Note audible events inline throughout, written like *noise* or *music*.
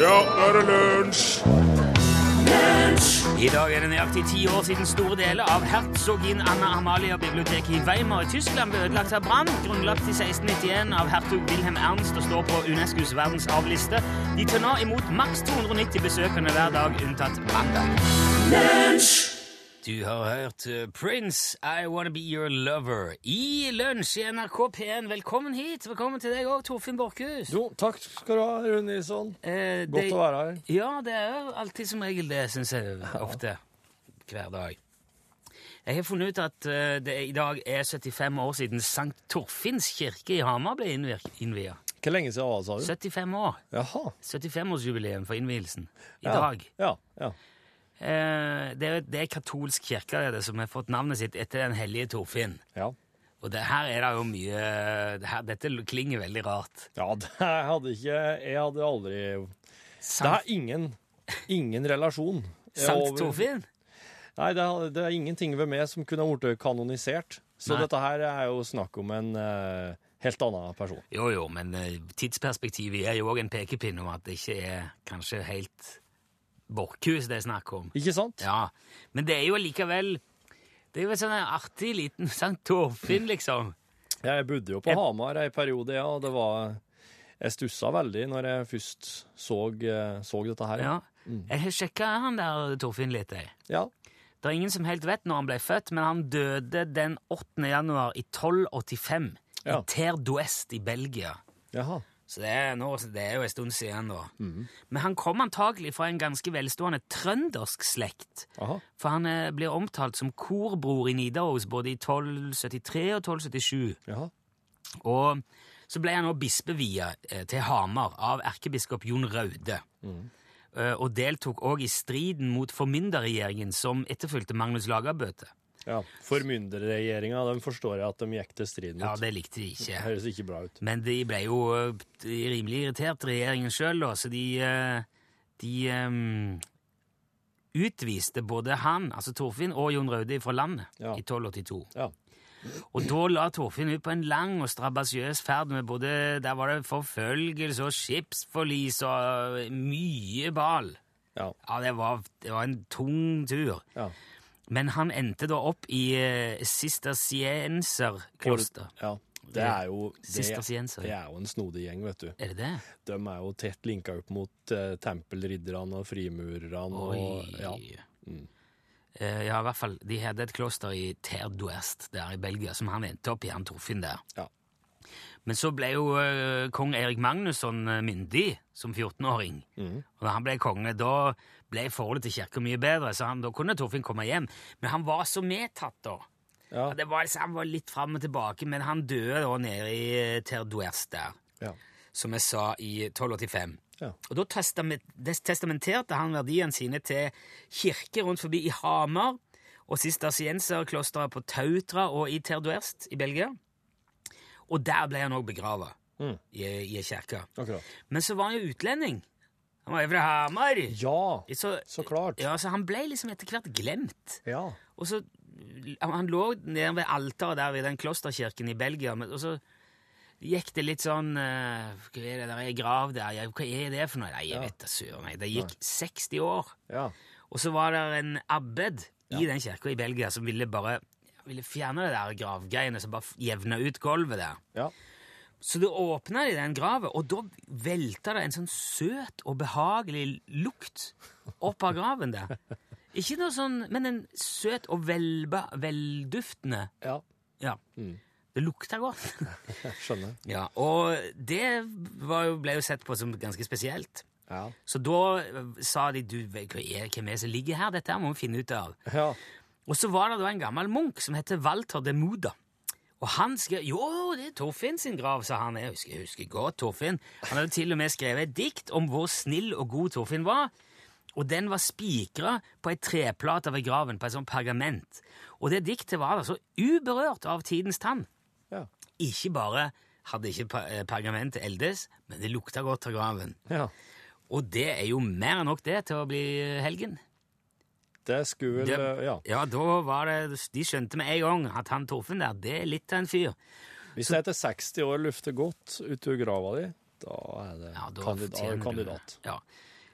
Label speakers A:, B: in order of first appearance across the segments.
A: Ja, nå er det lunsj!
B: I dag er det nøyaktig ti år siden store deler av hertogin Anna Amalia-biblioteket i Weimar i Tyskland ble ødelagt av brann, grunnlagt i 1691 av hertug Wilhelm Ernst og står på UNESCOs verdensarvliste. De tar nå imot maks 290 besøkende hver dag, unntatt mandag. Du har hørt eh, Prince, I Wanna Be Your Lover i lunsj i NRK P1. Velkommen hit. Velkommen til deg òg, Torfinn Borchhus.
C: Jo, takk skal du ha, Rune Nilsson.
B: Eh,
C: Godt
B: det-
C: å være her.
B: Ja, det er jo alltid som regel det, syns jeg. Ofte. Hver dag. Jeg har funnet ut at eh, det i dag er 75 år siden Sankt Torfinns kirke i Hamar ble innvir- innvia.
C: Hvor lenge siden var det, sa du?
B: 75 år.
C: Jaha.
B: 75-årsjubileum for innvielsen. I
C: Ja.
B: dag.
C: Ja, ja.
B: Eh, det er jo- det er katolsk kirke det er det som har fått navnet sitt etter den hellige Torfinn.
C: Ja,
B: Og det her er det jo mye det her, Dette klinger veldig rart.
C: ja *laughs* det jeg hadde ikke Jeg hadde aldri Det
B: Sankt,
C: er ingen, ingen relasjon.
B: Sankt
C: over-
B: Torfinn?
C: Nei, det er, det er ingenting ved meg som kunne ha blitt kanonisert. Så
B: Nei.
C: dette her er jo snakk om en eh, helt annen person.
B: Jo, jo, men eh, tidsperspektivet er jo òg en pekepinn om at det ikke er kanskje helt Borchhus det er snakk om.
C: Ikke sant?
B: Ja, Men det er jo allikevel Det er jo en sånn artig liten Sankt Torfinn, liksom.
C: Jeg bodde jo på
B: Jeg-
C: Hamar ei periode, ja, og det var Jeg stussa veldig når jeg først så, eh, så dette her.
B: Ja. Jeg har sjekka han der Torfinn litt, jeg.
C: ja.
B: Det er ingen som helt vet når han ble født, men han døde den 8. januar i 1285 i
C: Ja.
B: Ter d'Ouest i Belgia.
C: Jaha.
B: Så det er, nå, det er jo en stund siden, da. Men han kom antagelig fra en ganske velstående trøndersk slekt.
C: Aha.
B: For han eh, blir omtalt som korbror i Nidaros både i 1273 og 1277.
C: Jaha.
B: Og så ble han nå bispevia eh, til Hamar av erkebiskop Jon Raude. Eh, Og deltok òg i striden mot formynderregjeringen som etterfulgte Magnus Lagerbøte.
C: Ja, Formynderregjeringa, den forstår jeg at de gikk til strid mot.
B: Ja, det likte de ikke.
C: Høres ikke bra ut.
B: Men de ble jo eh, de rimelig irritert, regjeringen sjøl, da, så de, eh, de eh, utviste både han, altså Torfinn, og Jon Raude fra landet
C: Ja.
B: i 1282.
C: Ja.
B: Og da la Torfinn ut på en lang og strabasiøs ferd med både Der var det forfølgelse og skipsforlis og øh, mye bal.
C: Ja.
B: Ja, det var, det var en tung tur.
C: ja.
B: Men han endte da opp i uh, sistersienserkloster.
C: ja. Det er jo det,
B: Sistersienser.
C: det er jo en snodig gjeng, vet du.
B: Er det det?
C: De er jo tett linka opp mot eh, tempelridderne og frimurerne
B: Oi.
C: og ja. Mm.
B: Eh, ja, i hvert fall. De hadde et kloster i Ter d'Ouest der i Belgia, som han endte opp i, han Torfinn der.
C: Ja.
B: Men så ble jo eh, kong Erik Magnusson eh, myndig som 14-åring.
C: Mm.
B: Og da han ble konge, da ble forholdet til kirka mye bedre, så han, da kunne Torfinn komme hjem. Men han var så medtatt, da.
C: Ja.
B: Og Det var, liksom- han var litt fram og tilbake, men han døde da nede i eh, Ter d'Ouest der,
C: Ja.
B: som jeg sa, i 1285.
C: Ja.
B: Og da testament, des- testamenterte han verdiene sine til kirke rundt forbi i Hamar og sistersienserklosteret på Tautra og i Terduerst i Belgia. Og der ble han òg begrava,
C: Mm.
B: i i ei kirke.
C: Akkurat.
B: Men så var han jo utlending. Han var jo fra Hamar.
C: Ja,
B: Så,
C: så klart.
B: ja, så han ble liksom etter hvert glemt.
C: Ja.
B: Og så Han lå nede ved alteret der ved den klosterkirken i Belgia, men- og så gikk det litt sånn eh, Hva er det der er ei grav der? Ja, hva er det for noe? Nei, jeg vet da søren. nei. Det gikk 60 år.
C: Ja.
B: Og så var det en abbed i den kirka i Belgia som ville bare ville fjerne det der gravgreiene, som bare jevna ut gulvet der.
C: Ja.
B: Så da åpna de den grava, og da velta det en sånn søt og behagelig lukt opp av graven der. Ikke noe sånn, men en søt og velba, velduftende
C: ja.
B: Ja. Det lukta godt.
C: Jeg skjønner.
B: ja, Og det var jo, ble jo sett på som ganske spesielt.
C: Ja.
B: Så da eh, sa de du, hva er, hvem er det som ligger her, dette her må vi finne ut av.
C: ja.
B: Og så var det da en gammel munk som heter Walter de Moda. Og han skrev Jo, det er Torfinn sin grav, sa han. Jeg husker, jeg husker godt Torfinn. Han hadde til og med skrevet et dikt om hvor snill og god Torfinn var. Og den var spikra på ei treplate ved graven, på et sånt pergament. Og det diktet var altså uberørt av tidens tann.
C: Ja.
B: Ikke bare hadde ikke pa- eh, pergamentet eldes, men det lukta godt av graven.
C: ja.
B: Og det er jo mer enn nok det til å bli eh, helgen.
C: Det skulle vel eh, Ja.
B: Ja, da var det De skjønte med en gang at han Torfinn der, det er litt av en fyr.
C: Hvis det etter 60 år lufter godt utur grava di, da er det
B: Ja, da
C: kandid-
B: fortjener du det.
C: kandidat.
B: Ja.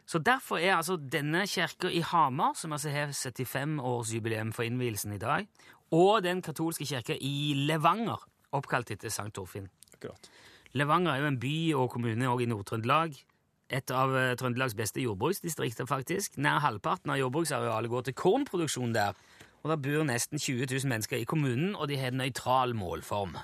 B: Så derfor er altså denne kirka i Hamar, som altså har 75-årsjubileum for innvielsen i dag, og den katolske kirka i Levanger, oppkalt etter Sankt Torfinn.
C: Akkurat.
B: Levanger er jo en by og kommune også i Nord-Trøndelag. Et av eh, Trøndelags beste jordbruksdistrikter, faktisk. Nær halvparten av jordbruksarealet går til kornproduksjon der. Og det bor nesten 20 000 mennesker i kommunen, og de har en nøytral målform.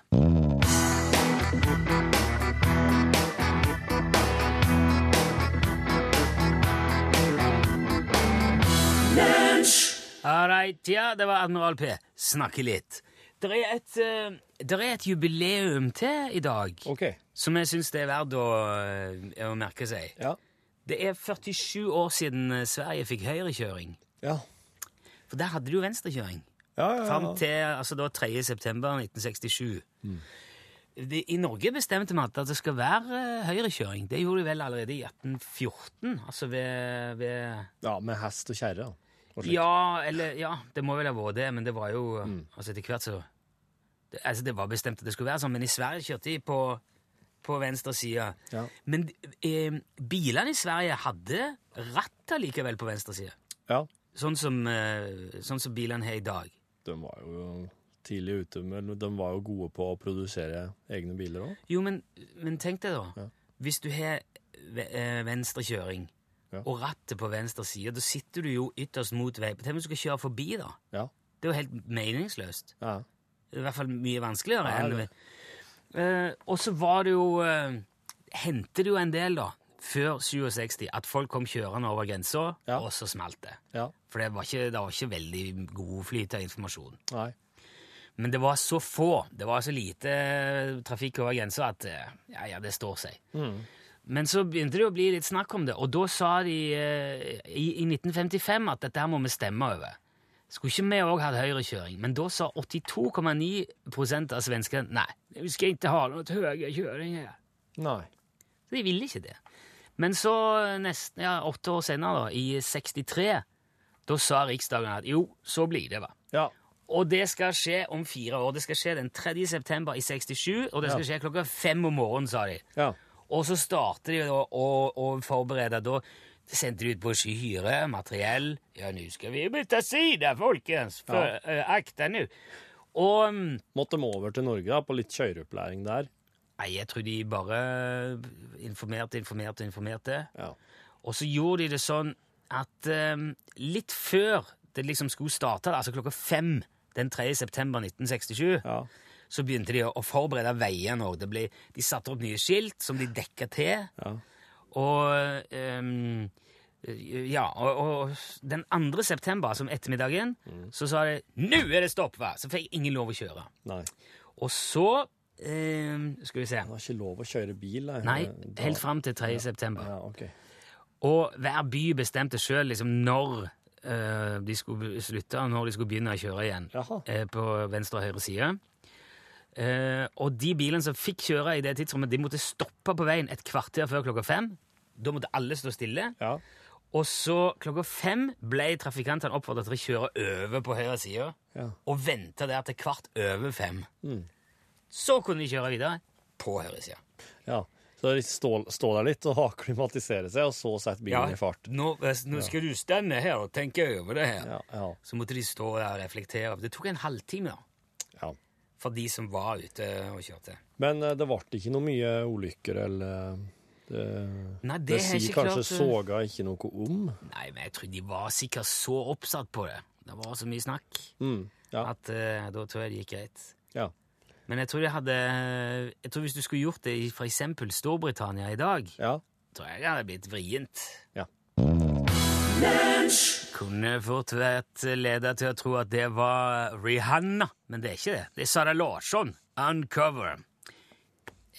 B: Alright, ja, det var Admiral P. Snakke litt. Det er et, eh, der er et jubileum til i dag
C: OK.
B: som jeg syns det er verdt å, eh, å merke seg.
C: Ja.
B: Det er 47 år siden eh, Sverige fikk høyrekjøring.
C: Ja.
B: For der hadde du venstrekjøring.
C: Ja, ja,
B: Fram
C: ja.
B: til altså da 3. september 1967. Det, I Norge bestemte man at det skal være eh, høyrekjøring. Det gjorde de vel allerede i 1814. Altså ved, ved
C: ja med hest og kjerre. da. Og slik.
B: Ja, eller Ja, det må vel ha vært det, men det var jo Altså, etter hvert så det, Altså, det var bestemt at det skulle være sånn, men i Sverige kjørte de på, på venstre side.
C: Ja.
B: Men eh, bilene i Sverige hadde ratt allikevel på venstre side.
C: ja.
B: Sånn som, eh, sånn som bilene har i dag.
C: De var jo tidlig ute, men de var jo gode på å produsere egne biler òg.
B: Jo, men, men tenk deg da.
C: Ja.
B: Hvis du har ve- eh, venstrekjøring
C: Ja.
B: og rattet på venstre side, da sitter du jo ytterst mot vei. Tenk om du skal kjøre forbi, da.
C: Ja.
B: Det er jo helt meningsløst.
C: Ja.
B: I hvert fall mye vanskeligere.
C: Ja,
B: enn
C: det.
B: Eh, og så var det jo uh, Hendte det jo en del, da, før 67, at folk kom kjørende over grensa,
C: Ja.
B: og så smalt det.
C: ja.
B: For det var ikke, det var ikke veldig god flyt av informasjon.
C: Nei.
B: Men det var så få, det var så lite eh, trafikk over grensa at eh, ja, ja, det står seg. Men så begynte det å bli litt snakk om det, og da sa de eh, i, i 1955 at dette her må vi stemme over. Skulle ikke vi òg hatt høyrekjøring? Men da sa 82,9 av svenskene nei, vi skal ikke ha noe høyrekjøring her.
C: Nei.
B: Så de ville ikke det. Men så, nesten, ja, åtte år senere, da, i 63, da sa Riksdagen at jo, så blir det, hva.
C: Ja.
B: Og det skal skje om fire år. Det skal skje den 3. september i 67, og det skal skje klokka fem om morgenen, sa de.
C: Ja.
B: Og så starter de da å, å forberede. Da sendte de ut brosjyre, materiell. Ja, nå skal vi bytte side, folkens! For,
C: Ja.
B: eh, Akta nå! Og mm,
C: Måtte de over til Norge da, på litt kjøreopplæring der.
B: Nei, jeg tror de bare informerte, informerte, informerte.
C: Ja.
B: Og så gjorde de det sånn at ehm, litt før det liksom skulle starte, altså klokka fem den 3. september 1967,
C: Ja.
B: så begynte de å, å forberede veiene òg. De satte opp nye skilt som de dekka til.
C: Ja.
B: Og ehm, ja, og, og den 2. september, altså om ettermiddagen,
C: Mm.
B: så sa de 'Nå er det stopp!' hva?' Så fikk ingen lov å kjøre.
C: Nei.
B: Og så ehm, Skal vi se
C: Det var ikke lov å kjøre bil. da.
B: Nei,
C: Da-
B: helt fram til 3. september.
C: Ja, ok.
B: Og hver by bestemte sjøl liksom, når eh, de skulle slutte, og når de skulle begynne å kjøre igjen.
C: Jaha.
B: eh, på venstre og høyre side. Eh, og de bilene som fikk kjøre i det tidsrommet, de måtte stoppe på veien et kvarter før klokka fem. Da måtte alle stå stille.
C: Ja.
B: Og så klokka fem ble trafikantene oppfordret til å kjøre over på høyre side
C: Ja. Mm.
B: og vente der til kvart over fem. Så kunne de kjøre videre på høyre side.
C: ja. Så de stå, stå der litt og *laughs* akklimatisere seg, og så sette bilen i fart.
B: nå, eh, nå skal du stemme her og tenke over det her.
C: Ja, ja,
B: Så måtte de stå der og reflektere. Det tok en halvtime da,
C: ja.
B: for de som var ute og kjørte.
C: Men eh, det ble ikke noe mye ulykker, eller eh, Det,
B: Nei, det har
C: det
B: jeg
C: sier
B: ikke
C: kanskje
B: klart, eh.
C: såga ikke noe om.
B: Nei, men jeg tror de var sikkert så oppsatt på det. Det var så mye snakk
C: Mm, ja,
B: at eh, da tror jeg det gikk greit.
C: ja.
B: Men jeg tror de hadde eh, Jeg tror hvis du skulle gjort det i for eksempel Storbritannia i dag,
C: Ja.
B: tror jeg det hadde blitt vrient.
C: Ja.
B: Kunne fort vært leda til å tro at det var Rihanna, men det er ikke det. Det er Sara Larsson. Uncover.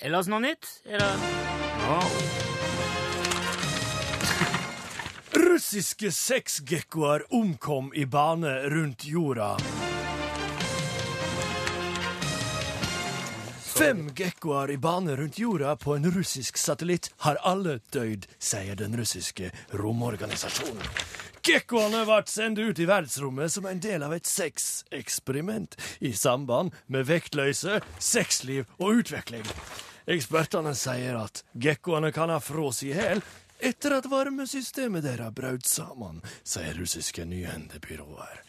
B: Ellers noe nytt? Eller? Å,
D: Russiske sexgekkoer omkom i bane rundt jorda. Fem gekkoer i bane rundt jorda på en russisk satellitt har alle døyd, sier den russiske romorganisasjonen. Gekkoene ble sendt ut i verdensrommet som en del av et sexeksperiment i samband med vektløse, sexliv og utvikling. Ekspertene sier at gekkoene kan ha frosset i hjel etter at varmesystemet deres brøt sammen, sier russiske nyhendebyråer.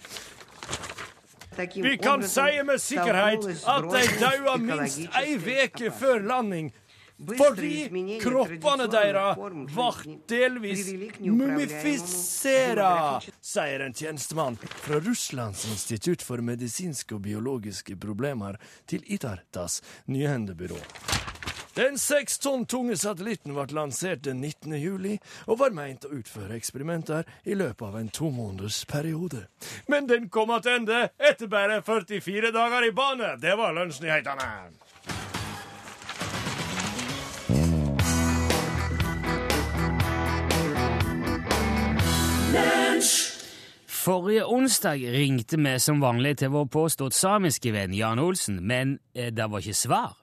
D: Vi kan si med sikkerhet at de daua minst ei veke før landing. Fordi kroppene deres ble delvis mumifisera, sier en tjenestemann fra Russlands institutt for medisinske og biologiske problemer til Itartas nyhendebyrå. Den seks tonn tunge satellitten ble lansert den 19. juli og var meint å utføre eksperimenter i løpet av en tomånedersperiode. Men den kom tilbake etter bare 44 dager i bane. Det var lunsjnyhetene.
B: Forrige onsdag ringte vi som vanlig til vår påstått samiske venn Jan Olsen, men eh, det var ikke svar.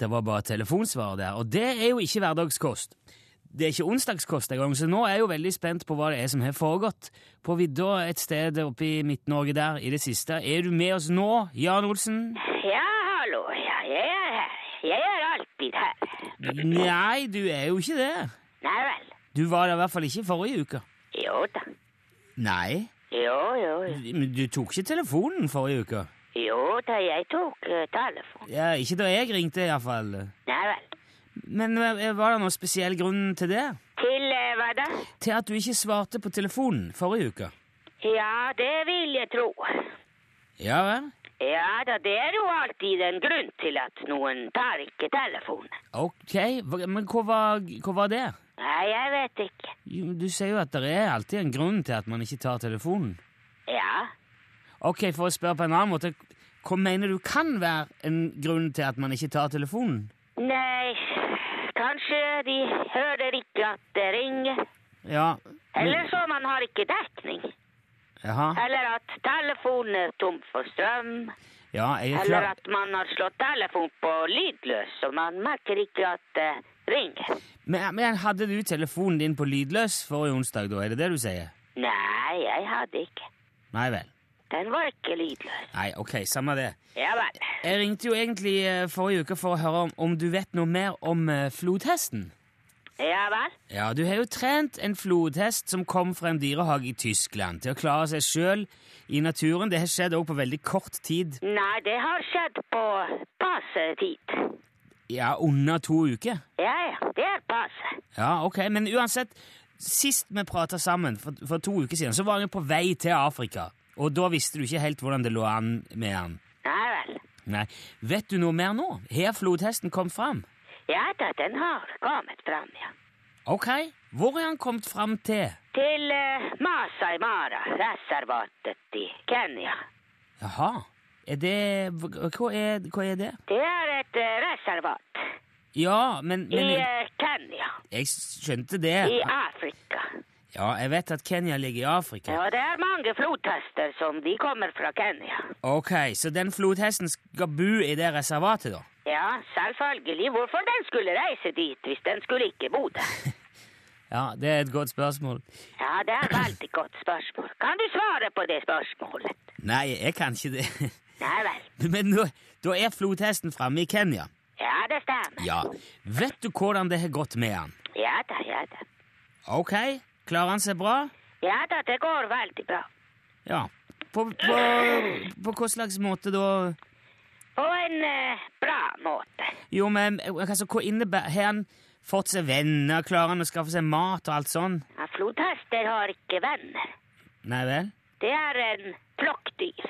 B: Det var bare telefonsvar der, og det er jo ikke hverdagskost. Det er ikke onsdagskost engang, så nå er jeg jo veldig spent på hva det er som har foregått. På vidda et sted oppe i Midt-Norge der i det siste. Er du med oss nå, Jan Olsen?
E: Ja, hallo. Ja, jeg er her. Jeg er alltid her.
B: Nei, du er jo ikke det.
E: Nei vel.
B: Du var der i hvert fall ikke forrige uke.
E: Jo da.
B: Nei,
E: Jo, jo, jo.
B: men du tok ikke telefonen forrige uke.
E: Jo da, jeg tok eh, telefonen.
B: Ja, ikke da jeg ringte, iallfall.
E: Nei vel.
B: Men eh, var det noen spesiell grunn til det?
E: Til eh, hva da?
B: Til at du ikke svarte på telefonen forrige uke?
E: Ja, det vil jeg tro.
B: Ja vel?
E: Ja da, det er jo alltid en grunn til at noen tar ikke telefonen.
B: Ok, hva- men hva var, hva var det?
E: Nei, jeg vet ikke.
B: Jo, Du sier jo at det er alltid en grunn til at man ikke tar telefonen.
E: Ja.
B: Ok, for å spørre på en annen måte, hva mener du kan være en grunn til at man ikke tar telefonen?
E: Nei, kanskje de hører ikke at det ringer.
B: Ja,
E: Eller så man har ikke dekning.
B: jaha.
E: Eller at telefonen er tom for strøm.
B: Ja, jeg er
E: Eller
B: klar.
E: at man har slått telefon på lydløs, så man merker ikke at eh, det ringer.
B: Men, men hadde du telefonen din på lydløs forrige onsdag, da? Er det det du sier?
E: Nei, jeg hadde ikke.
B: Nei vel.
E: Den var ikke lydløs.
B: Nei, ok, samme det.
E: Ja vel.
B: Jeg ringte jo egentlig eh, forrige uke for å høre om, om du vet noe mer om eh, flodhesten.
E: Ja vel.
B: Ja, du har jo trent en flodhest som kom fra en dyrehage i Tyskland, til å klare seg sjøl i naturen. Det har skjedd òg på veldig kort tid.
E: Nei, det har skjedd på passe tid.
B: Ja, under to uker.
E: Ja, ja, det er passe.
B: Ja, ok, men uansett, sist vi prata sammen, for, for to uker siden, så var han jo på vei til Afrika. Og da visste du ikke helt hvordan det lå an med han.
E: Nei vel.
B: Nei, Vet du noe mer nå? Har flodhesten kommet fram?
E: Ja da, den har kommet fram, ja.
B: Ok, hvor er han kommet fram til?
E: Til eh, Masai Mara-reservatet i Kenya.
B: Jaha, er det Hva er, hva er det?
E: Det er et eh, reservat
B: Ja, men,
E: i
B: men
E: eh, Kenya,
B: Jeg skjønte det.
E: i Afrika.
B: Ja, jeg vet at Kenya ligger i Afrika.
E: Ja, det er mange flodhester som de kommer fra Kenya.
B: Ok, Så den flodhesten skal bo i det reservatet, da?
E: Ja, selvfølgelig. Hvorfor den skulle reise dit hvis den skulle ikke bo der?
B: Ja, det er et godt spørsmål.
E: Ja, det er et veldig godt spørsmål. Kan du svare på det spørsmålet?
B: Nei, jeg kan ikke det. *laughs*
E: Nei vel.
B: Men nå, da er flodhesten framme i Kenya.
E: Ja, det stemmer.
B: Ja. Vet du hvordan det har gått med han?
E: Ja da, ja da.
B: Ok, klarer han seg bra?
E: Ja da, det går veldig bra.
B: Ja. På, på, på hva slags måte da?
E: På en eh, bra måte.
B: Jo, men altså, hva innebærer Har han fått seg venner? Klarer han å skaffe seg mat og alt sånn?
E: Ja, flodhester har ikke venner.
B: Nei vel?
E: Det er en flokkdyr.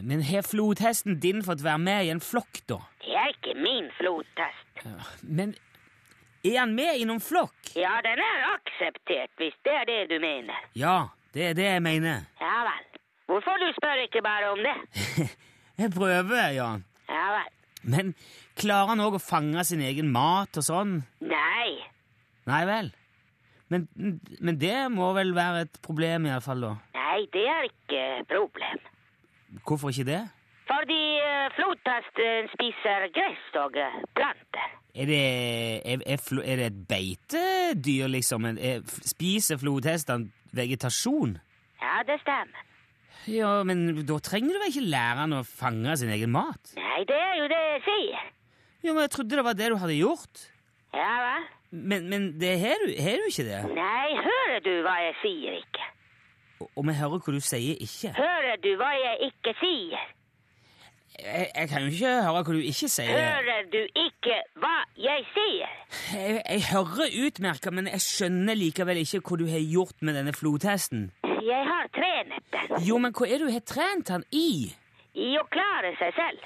B: Men har flodhesten din fått være med i en flokk, da?
E: Det er ikke min flodhest.
B: Men er han med i noen flokk?
E: Ja, den er akseptert, hvis det er det du mener.
B: Ja, det er det jeg mener.
E: Ja vel. Hvorfor du spør ikke bare om det?
B: Jeg prøver, Jan.
E: Ja vel.
B: Men klarer han òg å fange sin egen mat og sånn?
E: Nei.
B: Nei vel. Men, men det må vel være et problem, iallfall, da.
E: Nei, det er ikke problem.
B: Hvorfor ikke det?
E: Fordi eh, flodhesten spiser gress og eh, planter.
B: Er det, er, er, flo- er det et beitedyr, liksom? Er- Er, spiser flodhestene vegetasjon?
E: Ja, det stemmer.
B: Ja, men da trenger du vel ikke lære han å fange sin egen mat?
E: Nei, det er jo det jeg sier.
B: Jo, men jeg trodde det var det du hadde gjort.
E: Ja vel.
B: Men, men det har du, har du ikke det?
E: Nei, hører du hva jeg sier ikke?
B: Og- Og vi hører hva du sier ikke.
E: Hører du hva jeg ikke sier?
B: Jeg, jeg kan jo ikke høre hva du ikke sier.
E: Hører du ikke hva jeg sier?
B: Jeg, jeg hører utmerka, men jeg skjønner likevel ikke hva du har gjort med denne flodhesten.
E: Jeg har trenet den
B: Jo, men hva er det du har trent han i?
E: i å klare seg selv.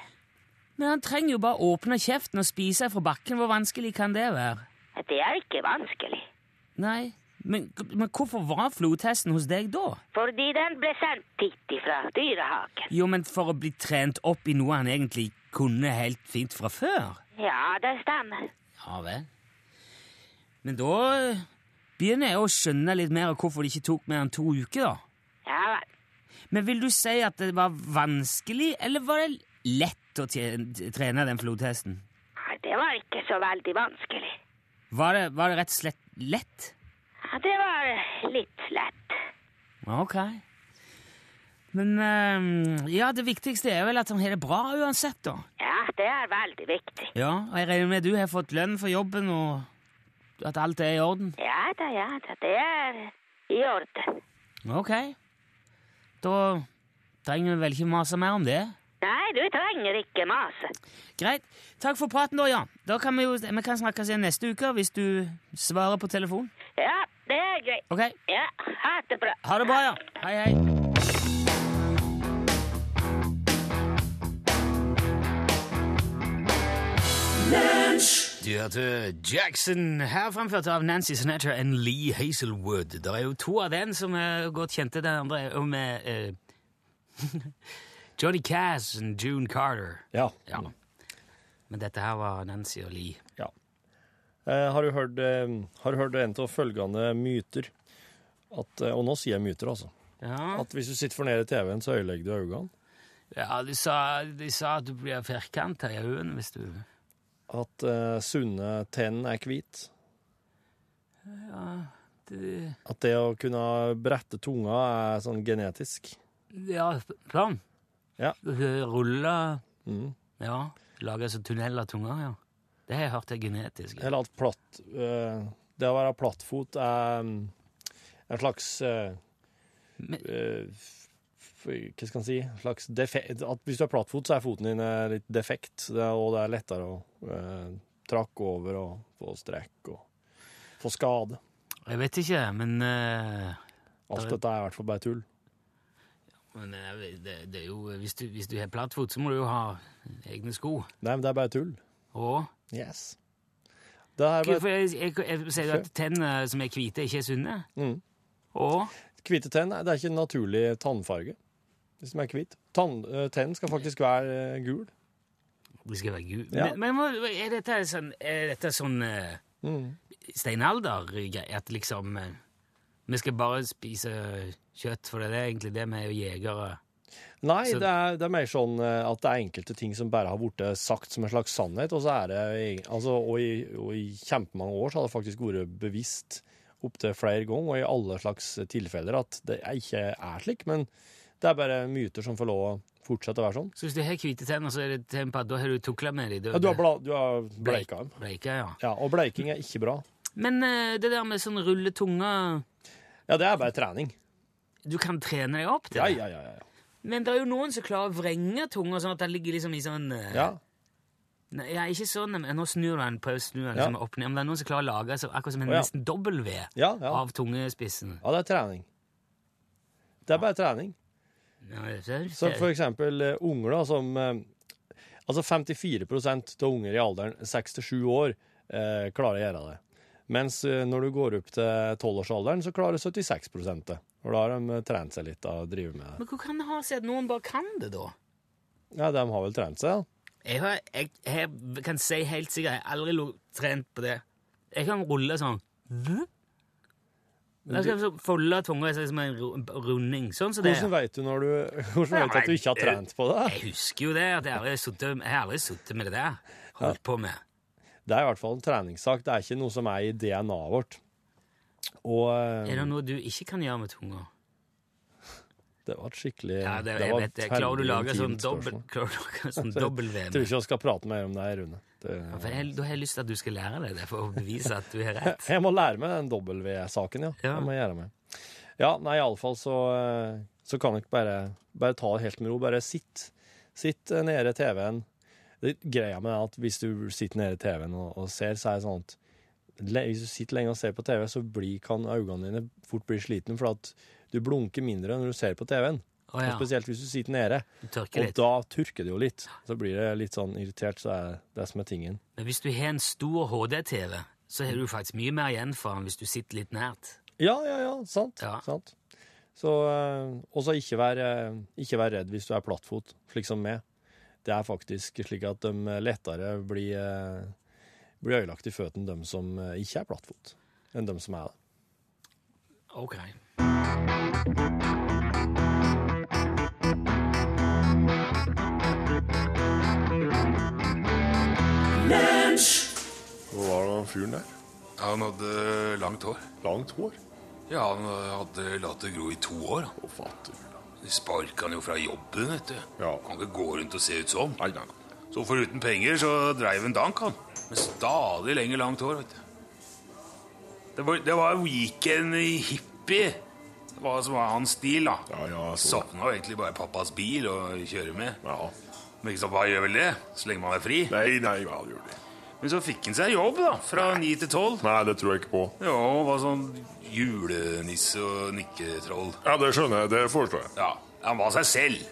B: Men han trenger jo bare å åpne kjeften og spise fra bakken. Hvor vanskelig kan det være?
E: Det er ikke vanskelig.
B: Nei, men, men hvorfor var flodhesten hos deg da?
E: Fordi den ble sendt hit fra dyrehagen.
B: Jo, men for å bli trent opp i noe han egentlig kunne helt fint fra før.
E: Ja, det stemmer.
B: Ja vel. Men da eh, begynner jeg å skjønne litt mer av hvorfor det ikke tok mer enn to uker, da.
E: Ja vel.
B: Men vil du si at det var vanskelig, eller var det lett å tje- trene den flodhesten?
E: Nei, Det var ikke så veldig vanskelig.
B: Var det, var det rett og slett lett?
E: Ja, Det var litt lett.
B: Ja, Ok. Men ehm, ja, det viktigste er vel at han har det bra uansett, da.
E: Ja, det er veldig viktig.
B: Ja, og jeg regner med du har fått lønn for jobben, og at alt er i orden?
E: Ja da, ja da. Det er i orden.
B: Ok. Da trenger vi vel ikke mase mer om det.
E: Nei, du trenger ikke mase.
B: Greit. Takk for praten, da, Jan. Da kan vi jo vi kan snakkes igjen neste uke hvis du svarer på telefon.
E: Ja, det er greit.
B: Ok.
E: Ja, ha det bra.
B: Ha det bra, ja. Hei, hei. Du hørte Jackson her fremført av Nancy Sinatra og Lee Hazelwood. Det er jo to av den som er godt kjente. Den andre er jo med eh, *laughs* Johnny Cass og June Carter.
C: Ja.
B: Ja. Men dette her var Nancy og Lee.
C: Ja. Eh, har du hørt, eh, har du hørt en av følgende myter? At, eh, og nå sier jeg myter, altså.
B: Ja,
C: At hvis du sitter for nede i TV-en, så ødelegger du øynene.
B: de, sa, de sa at du blir firkanta i øynene hvis du
C: At eh, sunne tenn er hvit.
B: det-
C: At det å kunne brette tunga er sånn genetisk.
B: Ja, sånn.
C: Ja.
B: Rulle
C: Mm.
B: Ja. Lage sånn tunnel av tunga, ja. Det har jeg hørt er genetisk.
C: Eller at platt, eh, det å være plattfot er mm, en slags eh,
B: Men-
C: eh, f- f- Hva skal en si? En slags defekt. At hvis du er plattfot, så er foten din eh, litt defekt, det er, og det er lettere å eh, trakke over og få strekk og få skade.
B: Jeg vet ikke, men, eh,
C: Alt
B: Det-
C: dette er i hvert fall bare tull.
B: men eh, det, det er jo Hvis du, hvis du har plattfot, så må du jo ha egne sko.
C: Nei, men det er bare tull.
B: Og
C: Yes. Det er bare
B: Hvorfor jeg, jeg, jeg, Sier du at tennene som er hvite, ikke er sunne?
C: Mm.
B: Og
C: Hvite tenn det er ikke en naturlig tannfarge. Hvis de er hvit. Tann, eh, tenn skal faktisk være eh, gul.
B: de skal være gule.
C: Ja.
B: Men, men hva- er dette sånn, er dette sånn eh,
C: Mm.
B: steinalder-greie? At liksom eh, Vi skal bare spise kjøtt, for det er egentlig det vi er jo jegere.
C: Nei,
B: Så-
C: det er, det er mer sånn eh, at det er enkelte ting som bare har blitt sagt som en slags sannhet, og så er det egen- altså, og i, og i kjempemange år så har det faktisk vært bevisst opptil flere ganger, og i alle slags tilfeller, at det er ikke er slik, men det er bare myter som får lov å fortsette å være sånn.
B: Så hvis du har hvite tenner, så er det et tegn på at da har du tukla med dem.
C: Ja, du har, bla, du har bleika dem.
B: Bleika, ja.
C: Ja, og bleiking er ikke bra.
B: Men eh, det der med sånn rulle tunga
C: Ja, det er bare trening.
B: Du kan trene deg opp til
C: Ja,
B: det.
C: ja, ja. ja, ja.
B: Men det er jo noen som klarer å vrenge tunga sånn at den ligger liksom i sånn eh,
C: ja.
B: Nei, ja, ikke sånn, men nå snur du den, prøver å snu den liksom opp ned. Men det er noen som klarer å lage så, akkurat som en
C: Å, ja.
B: nesten dobbel V
C: Ja, ja.
B: av tungespissen.
C: Ja, det er trening. Det er bare trening.
B: Ja, det er-
C: Så for eksempel eh, unger da, som eh, Altså 54 av unger i alderen 6-7 år eh, klarer å gjøre det. Mens eh, når du går opp til 12-årsalderen, så klarer 76 det. Og da har de eh, trent seg litt og driver med det.
B: Men hvor kan det ha seg at noen bare kan det, da?
C: Ja, de har vel trent seg, da.
B: Jeg, har, jeg, jeg kan si helt sikkert jeg har aldri lo, trent på det. Jeg kan rulle sånn. Jeg skal så folde tunga sånn som en ru- runding. Sånn som det
C: Hvordan
B: er.
C: vet du, når du, *laughs* hvordan vet du at du ikke har trent på det?
B: Jeg husker jo det. at Jeg aldri suttet- jeg har aldri sittet med det der. Holdt på med.
C: Det er i hvert fall en treningssak. Det er ikke noe som er i DNA-et vårt. Og eh,
B: Er det noe du ikke kan gjøre med tunga?
C: Det var et skikkelig
B: Ja, det,
C: det
B: jeg
C: var
B: vet det.
C: et
B: Klarer du å lage
C: herlig
B: sånn
C: intimt
B: dobbel,
C: spørsmål.
B: klarer du å lage
C: *laughs*
B: sånn dobbel
C: Jeg
B: VM?
C: tror ikke jeg skal prate mer om det, Rune. Det,
B: Ja, for jeg, da har jeg lyst til at du skal lære deg det, for å bevise at du har rett.
C: *laughs* jeg må lære meg den dobbel-V-saken, ja.
B: Ja.
C: Jeg må gjøre meg. Ja, nei, iallfall så, eh, så kan jeg ikke bare, bare ta det helt med ro. Bare sitt. Sitt eh, nede i TV-en. Det Greia med det er at hvis du sitter nede i TV-en og, og ser, så er det sånn at le- hvis du sitter lenge og ser på TV, så blir, kan øynene dine fort bli slitne, for at du blunker mindre når du ser på TV-en.
B: Å
C: Og
B: ja,
C: Spesielt hvis du sitter nede.
B: du tørker
C: Og
B: litt.
C: da tørker det jo litt. Så blir det litt sånn irritert, så er det som er tingen.
B: Men hvis du har en stor HD-TV, så har du faktisk mye mer igjen for den hvis du sitter litt nært.
C: Ja, ja, ja, sant.
B: Ja.
C: sant. Så, eh, og så ikke være ikke vær redd hvis du er plattfot, slik som meg. Det er faktisk slik at de lettere blir, eh, blir ødelagt i føttene, de som eh, ikke er plattfot, enn de som er det.
B: Ok.
A: Hvor var det han fyren der?
F: Ja, han hadde langt hår.
A: Langt hår?
F: Ja, han hadde latt det gro i to år.
A: Å, fatter.
F: De sparka han jo fra jobben, vet du.
A: Ja.
F: Kan ikke gå rundt og se ut som.
A: Nei, nei, nei.
F: Så foruten penger så dreiv han dank, han. Med stadig lenger langt hår, vet du. Det var, det var weekend-hippie. Det var som var hans stil, da.
A: Ja, ja, jeg så det.
F: Savna jo egentlig bare pappas bil å kjøre med.
A: Ja.
F: Men ikke sant, hva gjør vel det? Så lenge man er fri.
A: Nei, nei, ja, det gjør det.
F: Men så fikk han seg jobb, da. Fra ni til tolv.
A: Nei, det tror jeg ikke på.
F: Ja, og var sånn julenisse og nikketroll.
A: Ja, det skjønner jeg. Det forstår jeg.
F: Ja, han var seg selv.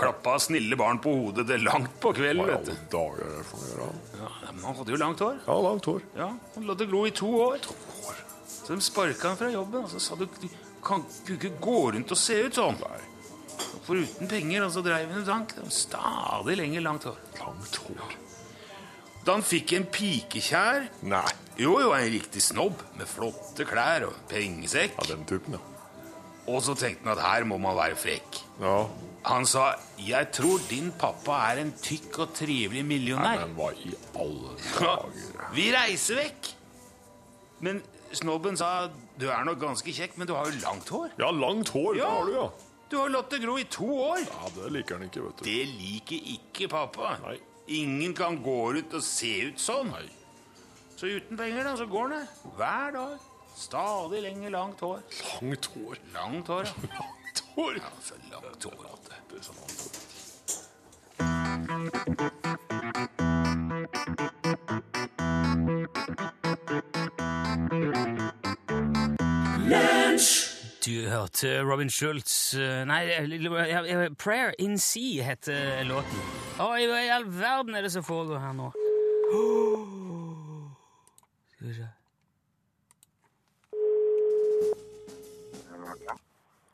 F: Klappa snille barn på hodet til langt på kvelden,
A: Hva i
F: vet
A: alle
F: du.
A: dager er det for noe å gjøre?
F: Ja, men han hadde jo langt hår.
A: Ja, langt hår.
F: Ja, Han lot det glo i to år. Så de sparka han fra jobben. Og så sa du du kan du ikke gå rundt og se ut sånn. Og Foruten penger, og så dreiv han i dank. Det var Stadig lenger langt hår.
A: Langt hår.
F: Da han fikk en pikekjær
A: Nei.
F: Jo, jo, en riktig snobb med flotte klær og pengesekk.
A: Ja, den typen, ja.
F: Og så tenkte han at her må man være frekk.
A: Ja.
F: Han sa 'Jeg tror din pappa er en tykk og trivelig
A: Nei,
F: millionær'.
A: men hva i alle
F: Ja,
A: dager?
F: Vi reiser vekk! Men snobben sa 'Du er nok ganske kjekk, men du har jo langt hår'.
A: Ja, langt hår, det
F: Ja.
A: har du, ja.
F: Du har latt det gro i to år!
A: Ja, det liker han ikke, vet du.
F: Det liker ikke pappa.
A: Nei.
F: Ingen kan gå rundt og se ut sånn.
A: Nei.
F: Så uten penger, da, så går han der. Hver dag. Stadig lenger langt hår.
A: Langt hår. *laughs*
F: Langt hår, ja.
A: Langt hår.
F: Ja, så langt hår at det
A: Det er sånn langt hår.
B: Du hørte Robin Schultz eh, Nei, eh, eh, Prayer in Sea heter låten. Oi, hva i all verden er det som foregår her nå? *gasps* Skal vi se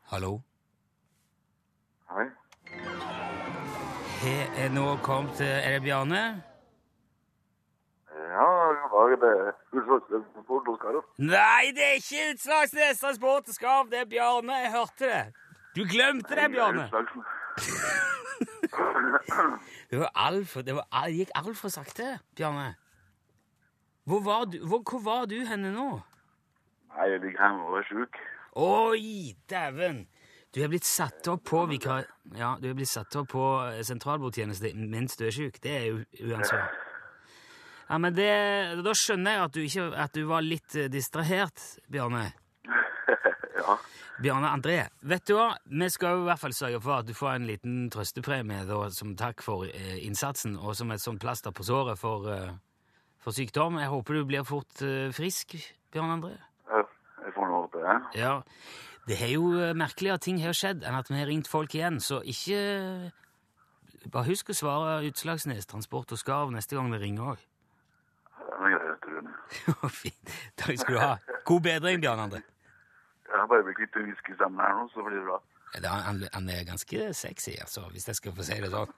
B: Hallo?
G: Hei.
B: He, er nå kommet til Er det Bjarne?
G: Ja, hva er det? Utslagsfjord og Skarv?
B: Nei, det er ikke Utslagsnes Transport og Skarv! Det er Bjarne. Jeg hørte det. Du glemte det, Bjarne. Det, var altfor- det, var, al- gikk altfor sakte, Bjarne. Hvor var, du, hvor, hvor var du henne nå?
G: *laughs* Nei, jeg ligger hjemme og er sjuk.
B: Oi, dæven! Du er blitt satt opp på vikar... Ja, du er blitt satt opp på eh, sentralbordtjeneste mens du er syk. Det er jo uansvarlig. Ja, men det, Da skjønner jeg at du, ikke, at du var litt eh, distrahert, Bjarne.
G: Ja.
B: Bjarne André, vet du hva? Vi skal jo i hvert fall sørge for at du får en liten trøstepremie da, som takk for eh, innsatsen, og som et sånt plaster på såret for, eh, for sykdom. Jeg håper du blir fort eh, frisk, Bjarne André.
G: Jeg jeg får noe til det.
B: Ja, det er jo eh, merkeligere ting har skjedd enn at vi har ringt folk igjen, så ikke eh, Bare husk å svare Utslagsnes Transport og Skarv neste gang vi ringer *laughs* òg.
G: Det er greit, Rune.
B: Fint. Takk skal du ha. God bedring, Bjørn André.
G: Jeg har bare blitt litt whisky sammen her nå, så blir det bra.
B: Ja, da, Han, han er ganske sexy, altså, hvis jeg skal få si det sånn.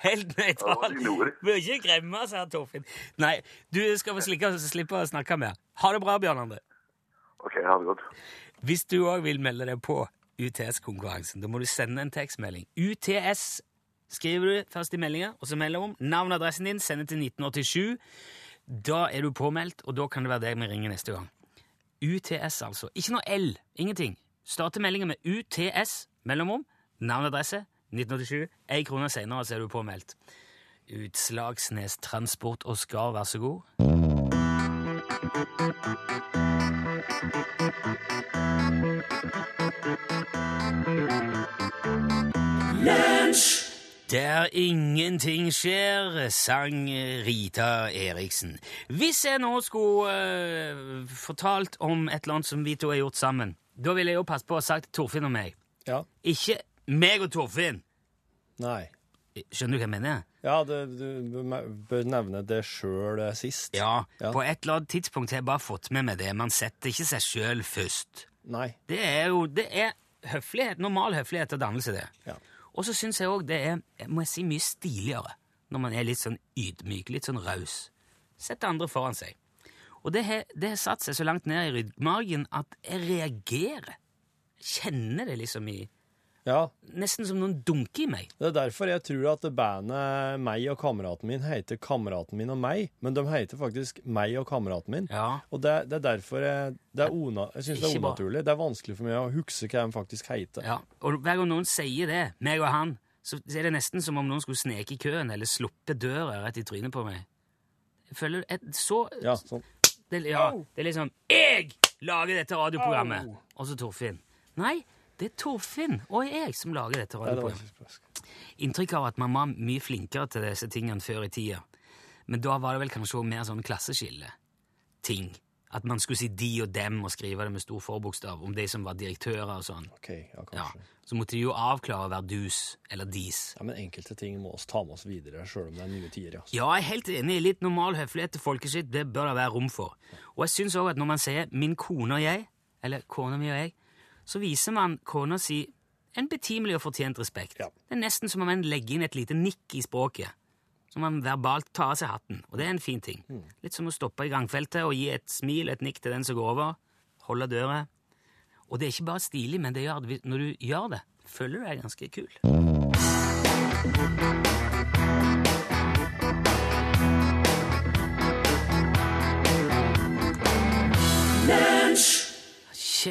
B: Helt
G: Ja,
B: nøytral.
G: dine ord.
B: Bør ikke gremme seg, Torfinn. Nei, du skal få slikke, slippe å snakke mer. Ha det bra, Bjørn André.
G: Ok, ha det godt.
B: Hvis du òg vil melde deg på UTS-konkurransen, da må du sende en tekstmelding. UTS skriver du først i meldinga, og så melder om navn og adressen din, sender til 1987. Da er du påmeldt, og da kan det være deg vi ringer neste gang. UTS, altså. Ikke noe L. Ingenting. Starte meldingen med UTS, mellomrom, navn og adresse, 1987. Ei krone senere så er du påmeldt. Utslagsnes Transport og Skar, vær så god. Der ingenting skjer, sang Rita Eriksen. Hvis jeg nå skulle eh, fortalt om et eller annet som vi to har gjort sammen, da ville jeg jo passe på å ha sagt Torfinn og meg.
C: Ja.
B: Ikke meg og Torfinn!
C: Nei.
B: Skjønner du hva jeg mener?
C: Ja, det, du bør nevne det sjøl sist.
B: Ja,
C: Ja.
B: På et eller annet tidspunkt har jeg bare fått med meg det. Man setter ikke seg sjøl først.
C: Nei.
B: Det er jo det er høflighet, normal høflighet og dannelse, det.
C: Ja.
B: Og så syns jeg òg det er jeg må jeg si, mye stiligere når man er litt sånn ydmyk, litt sånn raus. Sette andre foran seg. Og det har det har satt seg så langt ned i ryggmargen at jeg reagerer. Kjenner det liksom i
C: ja.
B: Nesten som noen dunker i meg.
C: Det er derfor jeg tror at bandet Meg og kameraten min heter Kameraten min og meg, men de heter faktisk Meg og kameraten min.
B: Ja.
C: Og det, det er derfor jeg, det er ona, jeg synes det er
B: Ikke bra.
C: unaturlig. Det er vanskelig for meg å huske hva de faktisk heter.
B: Ja, og hver gang noen sier det, meg og han, så er det nesten som om noen skulle sneke i køen eller sluppe døra rett i trynet på meg. Jeg føler et, så
C: Ja, sånn.
B: det, ja, det er litt sånn Jeg lager dette radioprogrammet! Og så Torfinn. Nei, det er Torfinn og jeg som lager dette
C: Nei, det var
B: radioprogrammet
C: ikke spørsmål.
B: inntrykk av at man var mye flinkere til disse tingene før i tida. Men da var det vel kanskje også mer sånn klasseskille-ting. At man skulle si de og dem og skrive det med stor forbokstav om de som var direktører og sånn.
C: Ok, ja,
B: Ja,
C: kanskje. Ja.
B: Så måtte de jo avklare å være dus eller dis.
C: Men enkelte ting må oss ta med oss videre, sjøl om det er nye tider. Ja.
B: Ja, jeg er helt enig. Litt normal høflighet til folkeskitt, det bør det være rom for. Og jeg syns òg at når man sier 'min kone og jeg', eller 'kona mi og jeg', så viser man kona si en betimelig og fortjent respekt.
C: Ja.
B: Det er nesten som om man legger inn et lite nikk i språket. Som man verbalt tar av seg hatten. Og det er en fin ting. Litt som å stoppe i gangfeltet og gi et smil, et nikk til den som går over. Holde døra. Og det er ikke bare stilig, men det gjør at vi- når du gjør det, føler du deg ganske kul.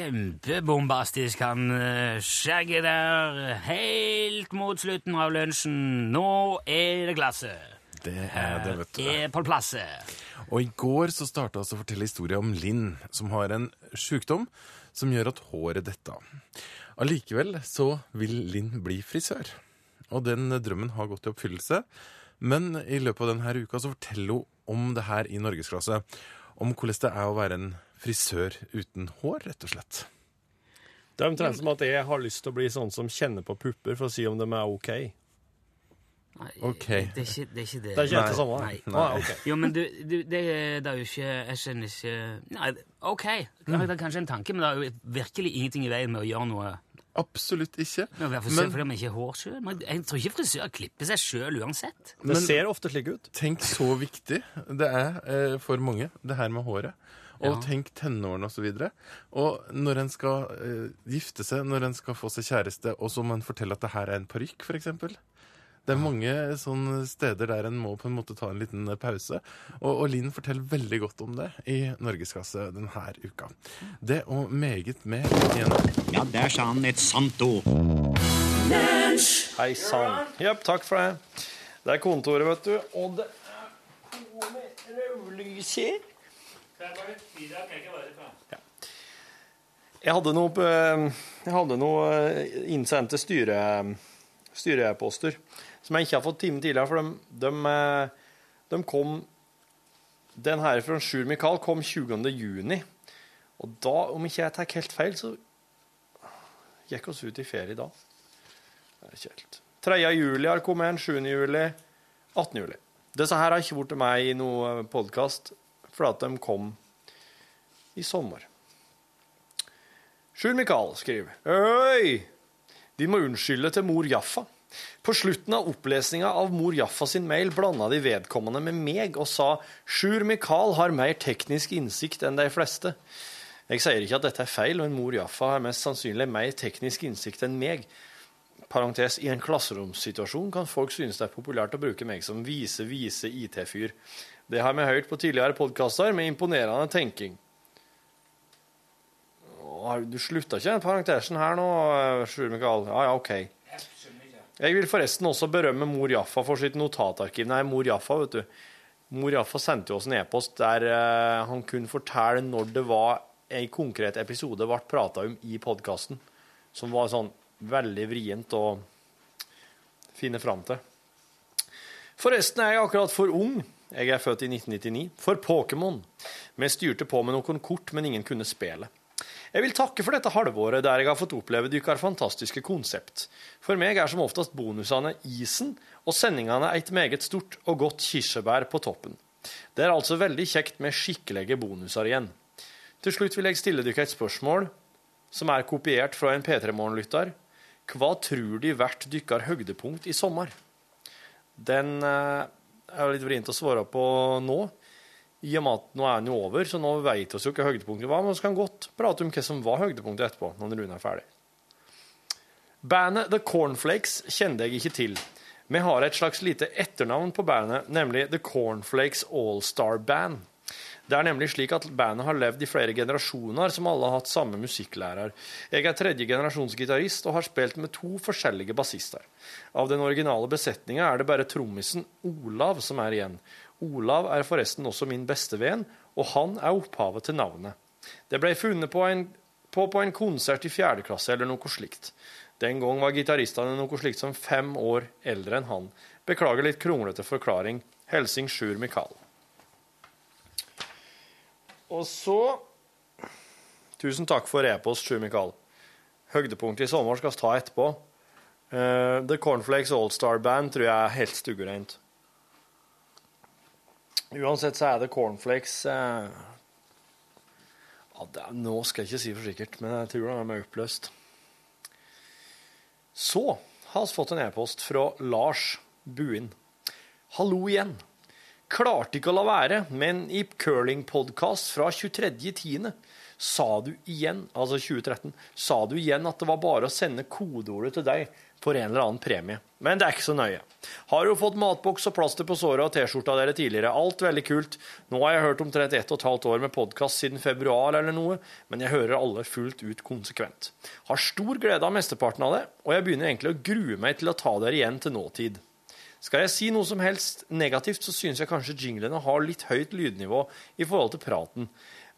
B: Kjempebombastisk han eh, skjegget der, helt mot slutten av lunsjen. Nå er det glasset.
H: Det er det, vet du.
B: Er på plasset.
H: Og i går så starta vi å fortelle historien om Linn, som har en sjukdom som gjør at håret detter av. Allikevel så vil Linn bli frisør. Og den drømmen har gått i oppfyllelse. Men i løpet av denne uka så forteller hun om det her i norgesklasse. Om hvordan det er å være en frisør uten hår, rett og slett.
C: Det er omtrent som at jeg har lyst til å bli sånn som kjenner på pupper for å si om de er OK.
B: Nei,
H: Ok.
B: Det er ikke det. Er ikke det.
C: Det er ikke helt det samme?
B: Nei.
C: Ah, ok.
B: Jo, men du, du det, det er jo ikke Jeg skjønner ikke Nei, OK, det er kanskje en tanke, men det er jo virkelig ingenting i veien med å gjøre noe
H: Absolutt ikke.
B: med å være frisør fordi man ikke har hår sjøl. Jeg tror ikke frisør klipper seg sjøl uansett.
C: Det ser ofte slik ut.
H: Tenk så viktig det er eh, for mange, det her med håret. Og tenk tenårene og så videre. Og når en skal eh, gifte seg, når en skal få seg kjæreste, og så må en fortelle at det her er en parykk, for eksempel. Det er mange sånne steder der en må på en måte ta en liten eh, pause. Og, og Linn forteller veldig godt om det i Norgeskasse denne uka. Det og meget mer igjen.
I: Ja, der sa han et sant ord.
C: Hei sann. Jepp, takk for det. Det er kontoret, vet du. Og det er rødlys her. Ja. Jeg hadde noe, på- eh, jeg hadde noe eh, innsendte styre, styreposter som jeg ikke har fått time tidligere, for de, de, eh, de kom Den her fra Sjur Mikael kom 20. juni. Og da, om ikke jeg tar helt feil, så gikk oss ut i ferie da. Det er ikke helt. 3. juli har kommet en, 7. juli, 18. juli. Disse her har ikke vært til meg i noe podkast, fordi at de kom i sommer. Sjur Mikael skriver Øy! Vi må unnskylde til mor Jaffa. På slutten av opplesninga av mor Jaffa sin mail blanda de vedkommende med meg og sa Sjur Mikael har mer teknisk innsikt enn de fleste. Jeg sier ikke at dette er feil, men mor Jaffa har mest sannsynlig mer teknisk innsikt enn meg parentes, i en klasseromssituasjon kan folk synes det er populært å bruke meg som vise, vise IT-fyr. Det har vi hørt på tidligere podkaster med imponerende tenking. Å, har- Du slutta ikke den parentesen her nå, eh, Sjur Mikael? Ja, ja, OK. Jeg vil forresten også berømme Mor Jaffa for sitt notatarkiv. Nei, Mor Jaffa, vet du. Mor Jaffa sendte jo oss en e-post der eh, han kunne fortelle når det var en konkret episode ble prata om i podkasten, som var sånn veldig vrient å finne fram til. Forresten er jeg akkurat for ung. Jeg er født i 1999. For Pokémon. Vi styrte på med noen kort, men ingen kunne spillet. Jeg vil takke for dette halvåret der jeg har fått oppleve deres fantastiske konsept. For meg er som oftest bonusene isen, og sendingene et meget stort og godt kirsebær på toppen. Det er altså veldig kjekt med skikkelige bonuser igjen. Til slutt vil jeg stille dere et spørsmål, som er kopiert fra en P3 Morgen-lytter. Hva tror de hvert dykkar høydepunkt i sommer? Den eh, er jo litt vrient å svare på nå. I og med at nå er den jo over, så nå vet vi jo ikke høydepunktet var, men vi kan godt prate om hva som var høydepunktet etterpå, når Rune er ferdig. Bandet The Cornflakes kjente jeg ikke til. Vi har et slags lite etternavn på bandet, nemlig The Cornflakes All-Star Band. Det er nemlig slik at bandet har levd i flere generasjoner, som alle har hatt samme musikklærer. Jeg er tredje generasjons gitarist og har spilt med to forskjellige bassister. Av den originale besetninga er det bare trommisen Olav som er igjen. Olav er forresten også min bestevenn, og han er opphavet til navnet. Det ble funnet på en, på, på en konsert i fjerde klasse eller noe slikt. Den gang var gitaristene noe slikt som fem år eldre enn han. Beklager litt kronglete forklaring. Helsing Sjur Mikael. Og så Tusen takk for e-post, Sjur Mikael. Høydepunktet i sommer skal vi ta etterpå. Eh, The Cornflakes All-Star Band tror jeg er helt stuereint. Uansett så er det Cornflakes eh, ja, det er, Nå skal jeg ikke si for sikkert, men jeg tror de er oppløst. Så har vi fått en e-post fra Lars Buen. Hallo igjen. Klarte ikke å la være, men i curlingpodkast fra 23.10. sa du igjen, altså 2013, sa du igjen at det var bare å sende kodeordet til deg for en eller annen premie. Men det er ikke så nøye. Har jo fått matboks og plaster på såret og T-skjorta dere tidligere. Alt veldig kult. Nå har jeg hørt omtrent ett og et halvt år med podkast siden februar eller noe, men jeg hører alle fullt ut konsekvent. Har stor glede av mesteparten av det, og jeg begynner egentlig å grue meg til å ta dere igjen til nåtid. Skal jeg si noe som helst negativt, så synes jeg kanskje jinglene har litt høyt lydnivå i forhold til praten.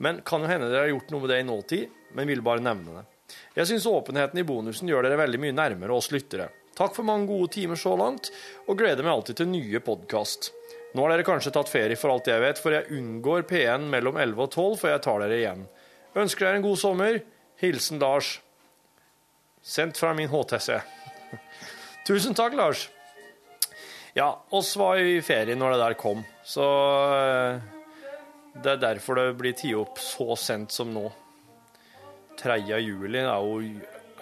C: Men kan jo hende dere har gjort noe med det i nåtid, men ville bare nevne det. Jeg synes åpenheten i bonusen gjør dere veldig mye nærmere oss lyttere. Takk for mange gode timer så langt, og gleder meg alltid til nye podkast. Nå har dere kanskje tatt ferie for alt jeg vet, for jeg unngår P1 mellom 11 og 12 før jeg tar dere igjen. Ønsker dere en god sommer. Hilsen Lars. Sendt fra min HTC. *laughs* Tusen takk, Lars. Ja, oss var i ferie når det der kom, så eh, det er derfor det blir tatt opp så sent som nå. 3. juli er jo i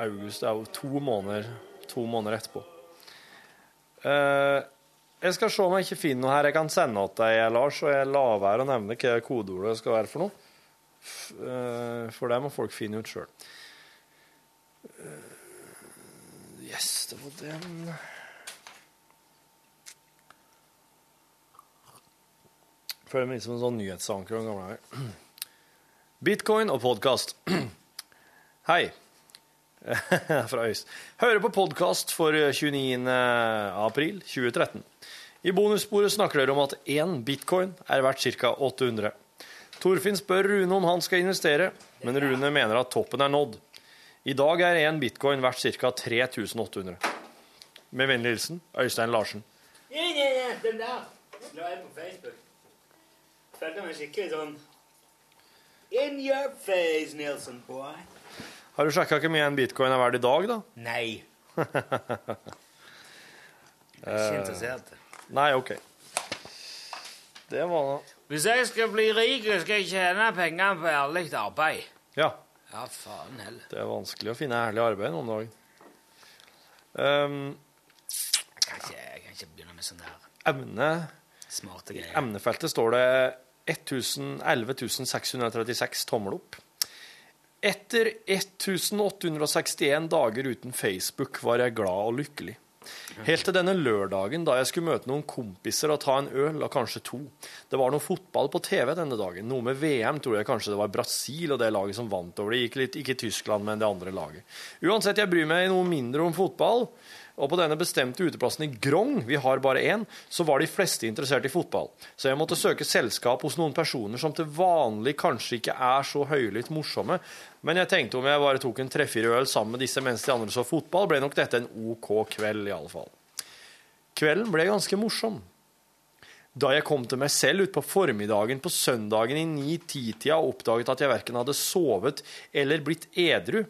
C: august, det er jo to måneder, to måneder etterpå. Eh, jeg skal se om jeg ikke finner noe her jeg kan sende til deg, Lars, og jeg lar være å nevne hva kodeordet skal være for noe. F- eh, For det må folk finne ut sjøl. Yes, det var den. Føler meg litt som en sånn nyhetsanker om gamle dager. *clears throat* Bitcoin og podkast. *clears throat* Hei. *laughs* Fra Øys. Hører på podkast for 29. april 2013. I bonussporet snakker dere om at én bitcoin er verdt ca. 800. Torfinn spør Rune om han skal investere, men Rune mener at toppen er nådd. I dag er én bitcoin verdt ca. 3800. Med vennlig hilsen Øystein Larsen.
B: Nei, nei, nei, den der. Nå er jeg på Facebook. Følte meg skikkelig sånn In your face, Nielsen boy.
C: Har du sjekka hvor mye en bitcoin er verdt i dag, da?
B: *laughs* Nei. jeg er ikke interessert.
C: Nei, OK. Det var da
B: Hvis jeg skal bli rik, skal jeg tjene pengene på ærlig arbeid.
C: Ja,
B: Ja, faen heller.
C: det er vanskelig å finne ærlig arbeid nå om dagen. Ehm,
B: Jeg kan ikke, jeg kan ikke begynne med sånne der
C: emne,
B: smarte greier.
C: emnefeltet står det 1000 11636 tommel opp. Etter 1861 dager uten Facebook var jeg glad og lykkelig. Helt til denne lørdagen da jeg skulle møte noen kompiser og ta en øl, og kanskje to. Det var noe fotball på TV denne dagen. Noe med VM, tror jeg kanskje det var Brasil og det laget som vant over det. Gikk litt, ikke Tyskland, men det andre laget. Uansett, jeg bryr meg noe mindre om fotball. Og på denne bestemte uteplassen i Grong, vi har bare én, så var de fleste interessert i fotball. Så jeg måtte søke selskap hos noen personer som til vanlig kanskje ikke er så høylytt morsomme. Men jeg tenkte om jeg bare tok en tre-fire øl sammen med disse mens de andre så fotball, ble nok dette en OK kveld, i alle fall. Kvelden ble ganske morsom. Da jeg kom til meg selv utpå formiddagen på søndagen i 9-10-tida og oppdaget at jeg verken hadde sovet eller blitt edru,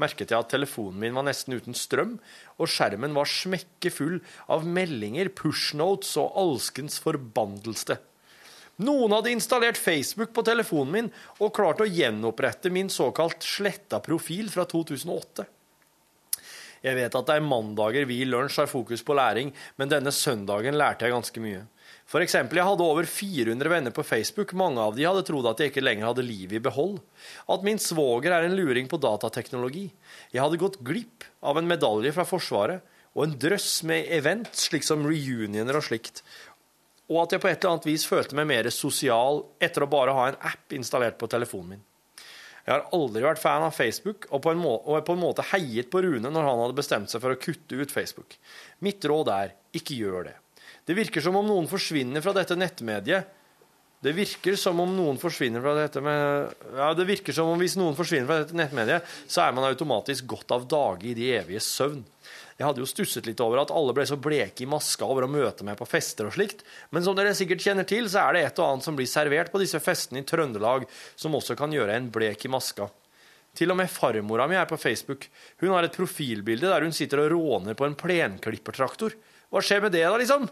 C: merket jeg at telefonen min var nesten uten strøm, og skjermen var smekke full av meldinger, pushnotes og alskens forbandelse. Noen hadde installert Facebook på telefonen min og klart å gjenopprette min såkalt sletta profil fra 2008. Jeg vet at det er mandager vi i lunsj har fokus på læring, men denne søndagen lærte jeg ganske mye. For eksempel, jeg hadde over 400 venner på Facebook. Mange av de hadde trodd at jeg ikke lenger hadde livet i behold. At min svoger er en luring på datateknologi. Jeg hadde gått glipp av en medalje fra Forsvaret og en drøss med event, slik som reunioner og slikt. Og at jeg på et eller annet vis følte meg mer sosial etter å bare ha en app installert på telefonen min. Jeg har aldri vært fan av Facebook, og på en, må og på en måte heiet på Rune når han hadde bestemt seg for å kutte ut Facebook. Mitt råd er ikke gjør det. Det virker som om noen forsvinner fra dette nettmediet. Det virker som om noen forsvinner fra dette med Ja, det virker som om hvis noen forsvinner fra dette nettmediet, så er man automatisk godt av dage i de evige søvn. Jeg hadde jo stusset litt over at alle ble så bleke i maska over å møte meg på fester og slikt, men som dere sikkert kjenner til, så er det et og annet som blir servert på disse festene i Trøndelag, som også kan gjøre en blek i maska. Til og med farmora mi er på Facebook. Hun har et profilbilde der hun sitter og råner på en plenklippertraktor. Hva skjer med det, da, liksom?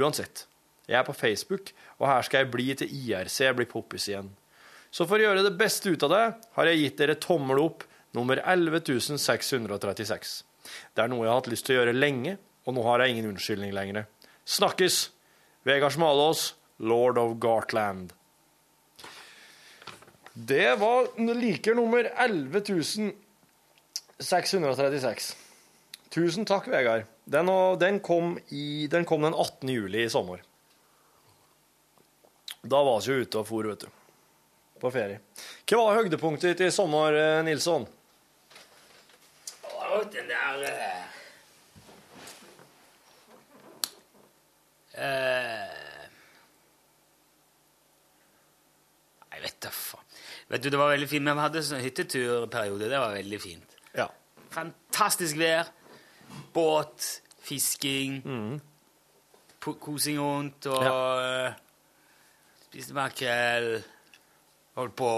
C: Uansett. Jeg er på Facebook, og her skal jeg bli til IRC blir poppis igjen. Så for å gjøre det beste ut av det, har jeg gitt dere tommel opp nummer 11636. Det er noe jeg har hatt lyst til å gjøre lenge, og nå har jeg ingen unnskyldning lenger. Snakkes! Vegard Smalås, lord of Gartland. Det var liker nummer 11636. Tusen takk, Vegard. Den, og- den, kom i, den kom den 18. juli i sommer. Da var vi jo ute og for, vet du. På ferie. Hva var høydepunktet ditt i sommer, eh, Nilsson?
B: Å, den der eh. Eh. Jeg vet da faen. Vet du, det var veldig fint. Vi hadde sånn hytteturperiode. Det var veldig fint.
C: Ja.
B: Fantastisk vær. Båt, fisking,
C: Mm.
B: po- kosing rundt og eh, spiste makrell. Holdt på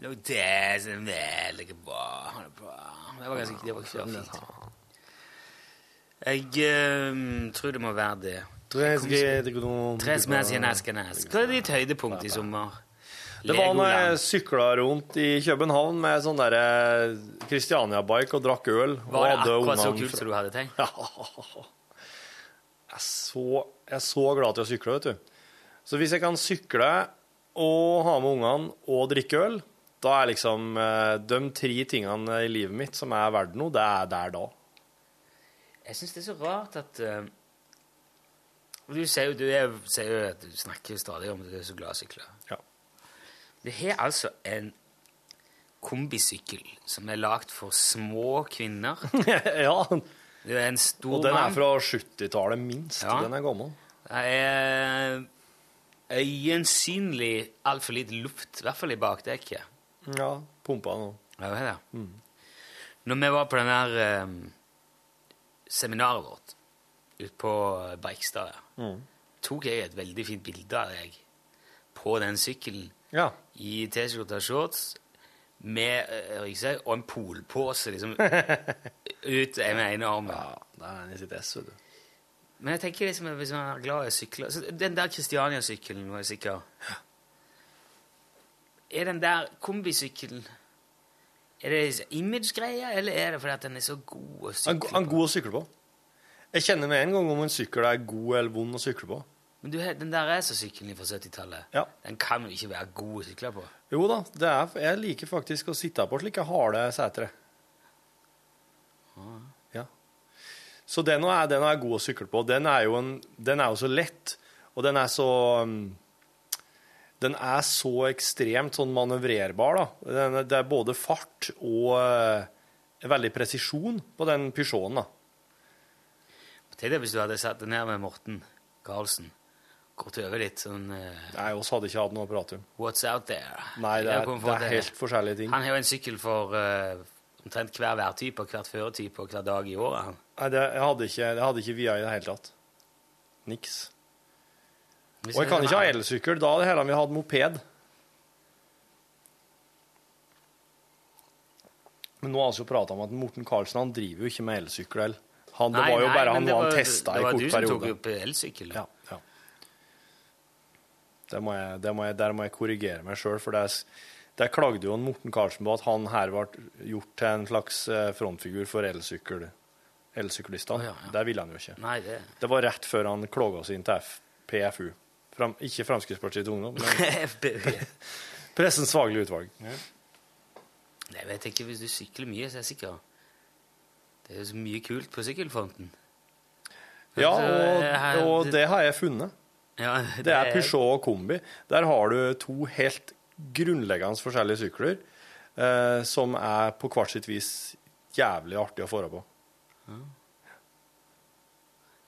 B: Lagde det som veldig bra. Holdt på. Det var ganske det var ikke så fint. Jeg eh, tror det må være det. Tres mes i Naskenes. Hva er ditt høydepunkt i sommer?
C: Det var når jeg
B: Legoland.
C: sykla rundt i København med sånn derre Christiania-bike og drakk øl. og
B: Var det
C: hadde
B: akkurat så
C: ungene
B: kult
C: fra-
B: som du hadde tenkt?
C: Ja. *laughs* Jeg er så, jeg er så glad til å sykle, vet du. Så hvis jeg kan sykle og ha med ungene og drikke øl, da er liksom eh, de tre tingene i livet mitt som er verdt noe, det er der da. *laughs*
B: Jeg syns det er så rart at eh, Du sier jo, du er, sier jo at du snakker stadig om at du er så glad i sykler.
C: Ja.
B: Du har altså en kombisykkel som er lagd for små kvinner.
C: ja,
B: Du er en stor
C: *laughs* og den er
B: mann.
C: fra 70-tallet minst.
B: Ja.
C: Den er gammel.
B: Det er øyensynlig altfor lite luft, i hvert fall i bakdekket.
C: Ja, pumpa nå.
B: Ja, det er det. Når vi var på den der eh, seminaret vårt ute på Beikstad, ja, tok jeg et veldig fint bilde av deg på den sykkelen
C: Ja.
B: i T-skjorte og shorts med eh, ryggsekk og en polpose liksom, ut med ene armen.
C: ja, det er den i sitt ess, vet du.
B: Men jeg tenker liksom, hvis man er glad i å sykle så Den der Kristiania-sykkelen var jeg sikker Er den der kombisykkelen Er det liksom image-greia, eller er det fordi at den er så god å
C: Han,
B: sykle
C: han er god å sykle på. Jeg kjenner med en gang om en sykkel er god eller vond å sykle på.
B: Men du, den der racersykkelen fra 70-tallet,
C: Ja.
B: den kan jo ikke være god å sykle på.
C: Jo da, det er, jeg liker faktisk å sitte på slike harde setre. Ja. Så den er, den er god å sykle på. Den er, jo en, den er jo så lett, og den er så um, Den er så ekstremt sånn manøvrerbar, da. Den, det er både fart og eh, veldig presisjon på den Peugeoten, da.
B: Tenk deg hvis du hadde satt deg ned med Morten Karlsen, gått over litt sånn eh,
C: Nei, oss hadde ikke hatt noe å prate om.
B: What's out there?
C: Nei, det
B: Jeg
C: er,
B: kom på
C: det
B: at
C: er helt forskjellige ting.
B: Han har jo en sykkel for eh, omtrent hver værtype, og hvert førertype og hver dag i året. han.
C: Nei, det, jeg hadde ikke, det hadde ikke via i det hele tatt. Niks.
B: Hvis
C: Og jeg kan
B: det-
C: ikke ha elsykkel. Da hadde hele vi hatt moped. Men nå har vi jo prata om at Morten Karlsen han driver jo ikke med elsykkel. heller. Han, det
B: Nei,
C: var jo
B: nei,
C: bare
B: men
C: han
B: det
C: noe
B: var-
C: han testa i kort
B: Det var du som
C: periode.
B: tok opp elsykkel.
C: Ja, ja. Det må jeg, det må jeg, der må jeg korrigere meg sjøl, for det er, s- der klagde jo en Morten Karlsen på at han her ble gjort til en slags eh, frontfigur for elsykkel, elsyklistene.
B: Å, ja, ja.
C: Der ville han jo ikke.
B: Nei,
C: *laughs*
B: det
C: Det var rett før han klaga oss inn til F PFU. Fram, ikke Fremskrittspartiet Ungdom, men *laughs*
B: FBU.
C: Pressens faglige utvalg.
B: Nei, vet jeg ikke. Hvis du sykler mye, så er jeg sikker. Det er jo så mye kult på sykkelfronten.
C: Ja,
B: det
C: og,
B: er-
C: og det har jeg funnet.
B: Ja,
C: eh, Det er Peugeot og Kombi. Der har du to helt grunnleggende forskjellige sykler eh, som er på hvert sitt vis jævlig artig å få på.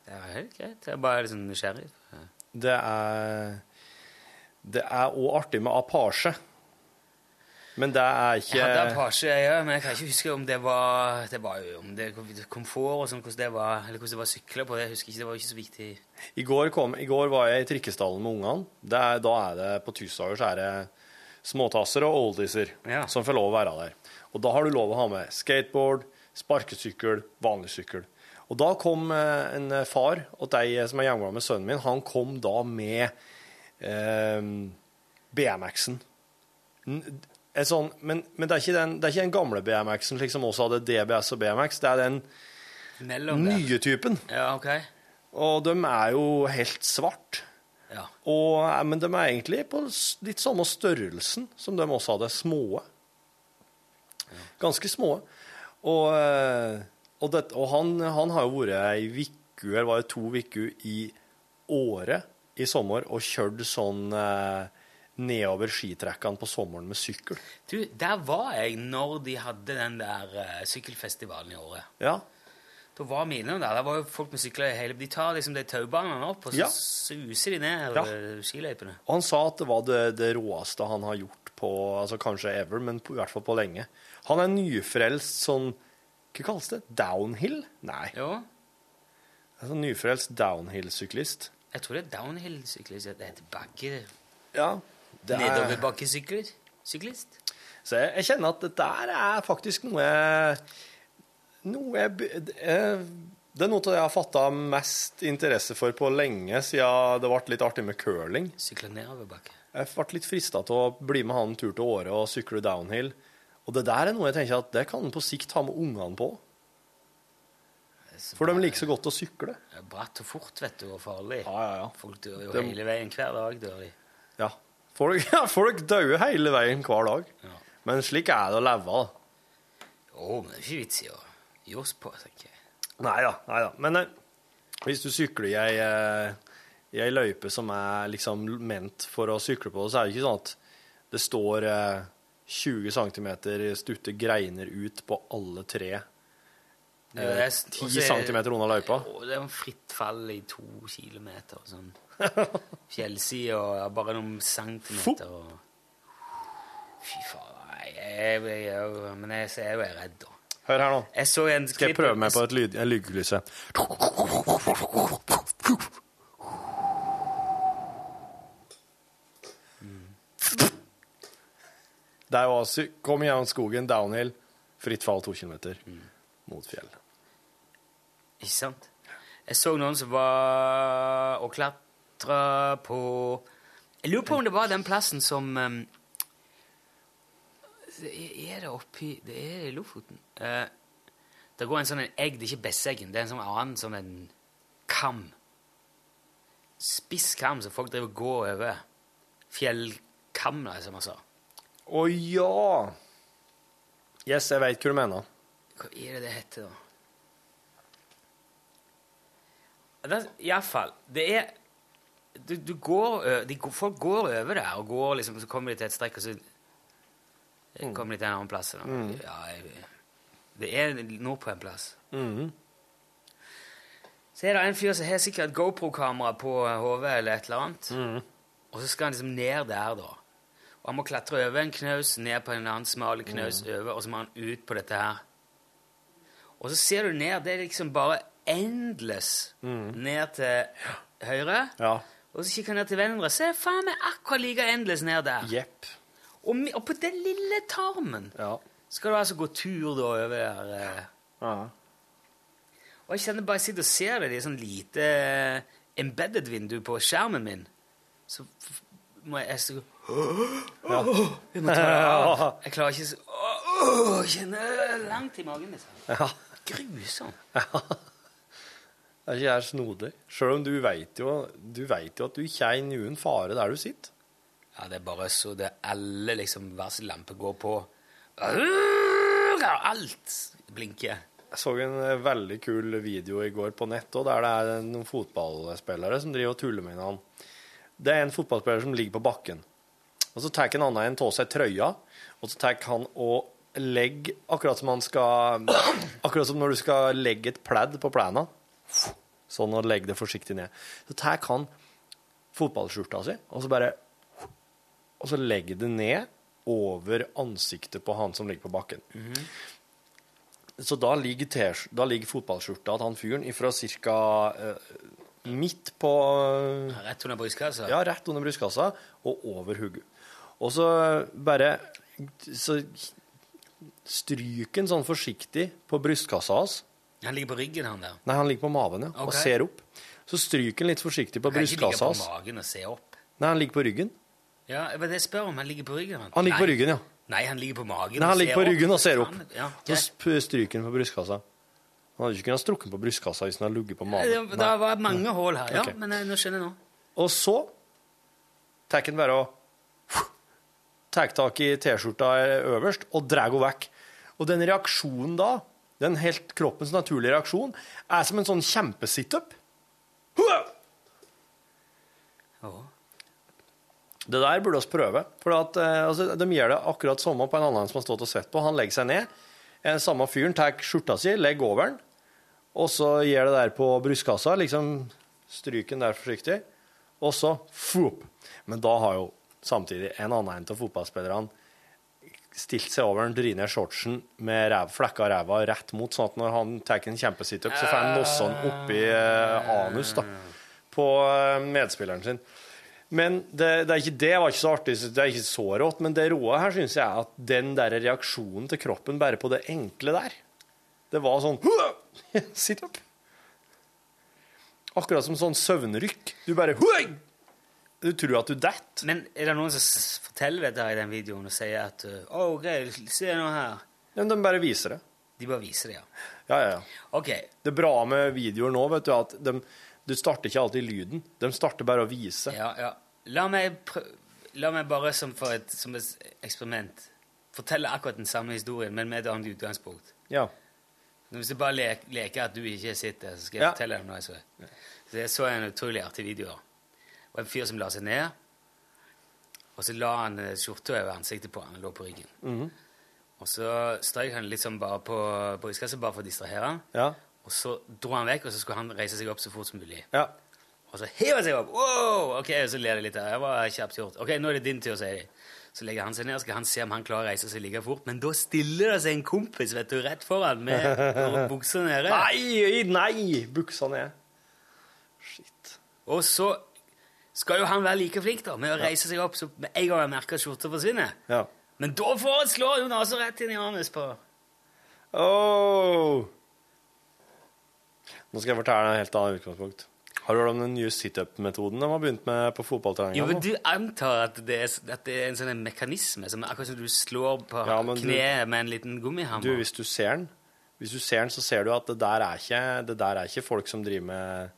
B: Det er helt greit. Jeg er bare litt sånn nysgjerrig.
C: Det er Det er òg artig med Apache. Men det er ikke
B: Jeg hadde Apache, ja, men jeg kan ikke huske om det var, det var jo, om det komfort og sånn, hvordan det var, eller hvordan det var sykler på det. Jeg husker ikke, det var jo ikke så viktig.
C: I går, kom, I går var jeg i trikkestallen med ungene. Det er, da er det på tirsdager så er det småtasser og oldiser
B: Ja.
C: som får lov å være der. Og da har du lov å ha med skateboard, sparkesykkel, vanlig sykkel. Og da kom eh, en far, og de som er hjemme med sønnen min, han kom da med eh, BMX-en. N- en Sånn, men men det, er ikke den, det er ikke den gamle BMX-en, slik som også hadde DBS og BMX. Det er den
B: Mellom det.
C: nye typen.
B: Ja, ok.
C: Og de er jo helt svart.
B: Ja.
C: Og, eh, men de er egentlig på s- litt samme størrelsen som de også hadde. Små. Ganske små. Og, eh, og, det, og han, han har jo vært ei uke, eller var det to uker, i Åre i sommer og kjørt sånn eh, nedover skitrekkene på sommeren med sykkel.
B: Du, der var jeg når de hadde den der eh, sykkelfestivalen i året.
C: Ja.
B: Da var vi innom der. Der var jo folk med sykler i hele De tar liksom de taubanene opp, og så
C: Ja.
B: suser de ned
C: Ja.
B: eh, skiløypene.
C: Og han sa at det var det, det råeste han har gjort på altså Kanskje ever, men på, i hvert fall på lenge. Han er nyfrelst sånn Hva kalles det? Downhill? Nei.
B: Jo.
C: Altså, nyfrelst downhill-syklist.
B: Jeg tror det er downhill-syklist. Det heter bakke...
C: Ja. Det er,
B: Nedoverbakkesykler? Syklist?
C: så jeg, jeg kjenner at det der er faktisk noe Noe jeg, be- eh, Det er noe av det jeg har fatta mest interesse for på lenge, siden det ble litt artig med curling.
B: Sykler nedoverbakke.
C: Jeg ble litt frista til å bli med han en tur til Åre og sykle downhill. Og det der er noe jeg tenker at det kan en på sikt ha med ungene på. For de liker så godt å sykle.
B: Det er Bratt og fort, vet du, og farlig.
C: ja, ja.
B: Folk dør jo
C: Det-
B: hele veien. Hver dag dør de.
C: Ja. Folk, *laughs* ja, folk dør hele veien hver dag.
B: Ja.
C: Men slik er det å leve. da.
B: Å, men det er ikke vits i å gi oss på, tenker jeg.
C: Nei da. Nei da. Men eh, hvis du sykler i ei, eh, i ei løype som er liksom ment for å sykle på, så er det ikke sånn at det står eh, 20 cm stutte greiner ut på alle tre.
B: Det er-
C: Eh,
B: og så
C: 10
B: er-
C: cm unna løypa.
B: Å, det er en fritt fall i to kilometer og sånn. Fjellside og ja, bare noen centimeter og Fy faen. nei, Jeg, jeg, jeg, men jeg, jeg er jo redd, da.
C: Hør her nå.
B: Jeg så en
C: Skal jeg
B: klipp-
C: prøve meg på et lyd, en lydkulisse? Der var sy Kom gjennom skogen, downhill, fritt fall to kilometer mot fjell.
B: Ikke sant? Jeg så noen som var og klatra på Jeg lurer på om det var den plassen som ehm, det Er er det oppi Det er i Lofoten. Eh, det går en sånn en egg, det er ikke Besseggen, det er en sånn annen sånn en kam. Spiss kam som folk driver og går over. Fjellkam, da, som man sa.
C: Å ja! Yes, jeg veit hva du mener.
B: Hva er det det heter, da? det, i alle fall, det er du, du går, ø- de, går- Folk går over der, og går liksom, så kommer de til et strekk, og så kommer de til en annen plass. eller noe. Ja, jeg, det er nå på en plass. Så er det en fyr som har sikkert et GoPro-kamera på hodet eller et eller annet. Og så skal han liksom ned der, da. Og han må klatre over en knaus, ned på en annen smal knaus over, og så må han ut på dette her. Og så ser du ned, det er liksom bare endless ned til høyre.
C: Ja.
B: Og så kikker han ned til venstre. Se, faen meg akkurat like endless ned der.
C: Jepp.
B: Og, mi- og på den lille tarmen
C: Ja.
B: skal du altså gå tur da over der. eh.
C: Ja.
B: Og jeg kjenner bare jeg sitter og ser det, det er sånn lite eh, embedded vindu på skjermen min. Så f- må jeg, jeg så, Jeg må ta
C: *laughs*
B: det av. Jeg klarer ikke så Åh, åh, Jeg kjenner langt i magen, liksom.
C: ja.
B: Grusomt.
C: Det er ikke jeg snodig. Selv om du vet jo, du vet jo at du ikke er i noen fare der du sitter.
B: Ja, det er bare så det alle liksom varsellamper går på. Åh, Alt blinker.
C: Jeg så en eh, veldig kul video i går på nett, også, der det er noen fotballspillere som driver og tuller med hverandre. Det er en fotballspiller som ligger på bakken. Og så tar en annen en av seg trøya, og så tar han og legger Akkurat som han skal Akkurat som når du skal legge et pledd på plena. Sånn, og legge det forsiktig ned. Så tar han fotballskjorta si, og så bare Og så legger det ned over ansiktet på han som ligger på bakken. Så da ligger, t- da ligger fotballskjorta til han fyren ifra ca. midt på eh,
B: Rett under brystkassa.
C: Ja, rett under brystkassa og over hodet. Og så bare Så stryker han sånn forsiktig på brystkassa hans.
B: Han ligger på ryggen, han der.
C: Nei, han ligger på maven, ja, og
B: Ok.
C: ser opp. Så stryker han litt forsiktig på
B: Han kan ikke ligge
C: brystkassa
B: på
C: hans.
B: magen og se opp.
C: Nei, han ligger på ryggen.
B: Ja, det var det jeg spør om. Han ligger på ryggen.
C: Han ligger
B: Nei.
C: på ryggen, ja.
B: Nei, han ligger på magen
C: Nei, han ligger på
B: opp.
C: ryggen og ser opp.
B: Ja,
C: Så
B: ok.
C: sp- stryker han på brystkassa. Han hadde ikke kunnet strukke den på brystkassa hvis han hadde ligget på maven.
B: Det det var mange hull her, ja.
C: Ok.
B: Men eh, nå skjønner jeg nå.
C: Og så tar han bare og tar tak i T-skjorta øverst og drar henne vekk. Og den reaksjonen da, den helt kroppens naturlige reaksjon, er som en sånn kjempesitup.
B: Åh.
C: Det der burde oss prøve. For at, eh, altså, de gjør det akkurat samme på en annen som har stått og sett på. Han legger seg ned. Eh, Samme fyren tar skjorta si, legger over den, og så gjør det der på brystkassa. Liksom stryker den der forsiktig, og så fwoop. Men da har jo samtidig en annen en av fotballspillerne stilt seg over den, dritt ned shortsen med ræv, flekka ræva rett mot, sånn at når han tar en kjempesitup, så får han nossa den oppi eh, anus da, på eh, medspilleren sin. Men det, det, er ikke, det var ikke så artig, så det er ikke så rått, men det råe her syns jeg er at den der reaksjonen til kroppen bare på det enkle der Det var sånn *laughs* Sitt opp. Akkurat som sånn søvnrykk. Du bare Du tror at du detter.
B: Men er det noen som s- forteller dette her i den videoen og sier at eh, Å, OK, se nå her.
C: Men de bare viser det.
B: De bare viser det, ja.
C: Ja, ja, ja.
B: OK.
C: Det bra med videoer nå, vet du, at de, du starter ikke alltid lyden. De starter bare å vise.
B: Ja, ja. La meg, prø La meg bare som, for et, som et eksperiment fortelle akkurat den samme historien, men med et annet utgangspunkt.
C: Ja.
B: Men Hvis jeg bare le leker at du ikke sitter, så skal jeg
C: Ja.
B: fortelle deg om noe jeg så. Så jeg så en utrolig artig video. da. Det var en fyr som la seg ned, og så la han eh, skjorta over ansiktet på han, han lå på ryggen.
C: Mhm.
B: Og så strøk han litt sånn bare på brystkassa bare for å distrahere han.
C: Ja.
B: Og så dro han vekk, og så skulle han reise seg opp så fort som mulig.
C: ja.
B: Og så hiver han seg opp. Wow! Ok, og så ler de litt. her. Det var kjapt gjort. Ok, nå er det din tur, sier de. Så legger han seg ned, og skal han se om han klarer å reise seg like fort. Men da stiller det seg en kompis vet du, rett foran
C: *laughs*
B: med buksa nede.
C: Nei! Nei! Buksa ned. Shit.
B: Og så skal jo han være like flink da, med å reise seg opp så med en gang han merker at skjorta forsvinner.
C: Ja.
B: Men da får han slå Jon Ase rett inn i anus på
C: Åh! Nå skal jeg fortelle deg en helt annen utgangspunkt. Har du hørt om den nye situp-metoden de har begynt med
B: Jo,
C: på
B: men
C: fotballtreninga? nå?
B: Du antar at det, er, s- at det er en sånn en mekanisme, som akkurat som du slår på
C: Ja, men du-
B: kneet med en liten
C: Du,
B: gummihammer.
C: hvis du ser den, hvis du ser den, så ser du at det der er ikke, det der er ikke folk som driver med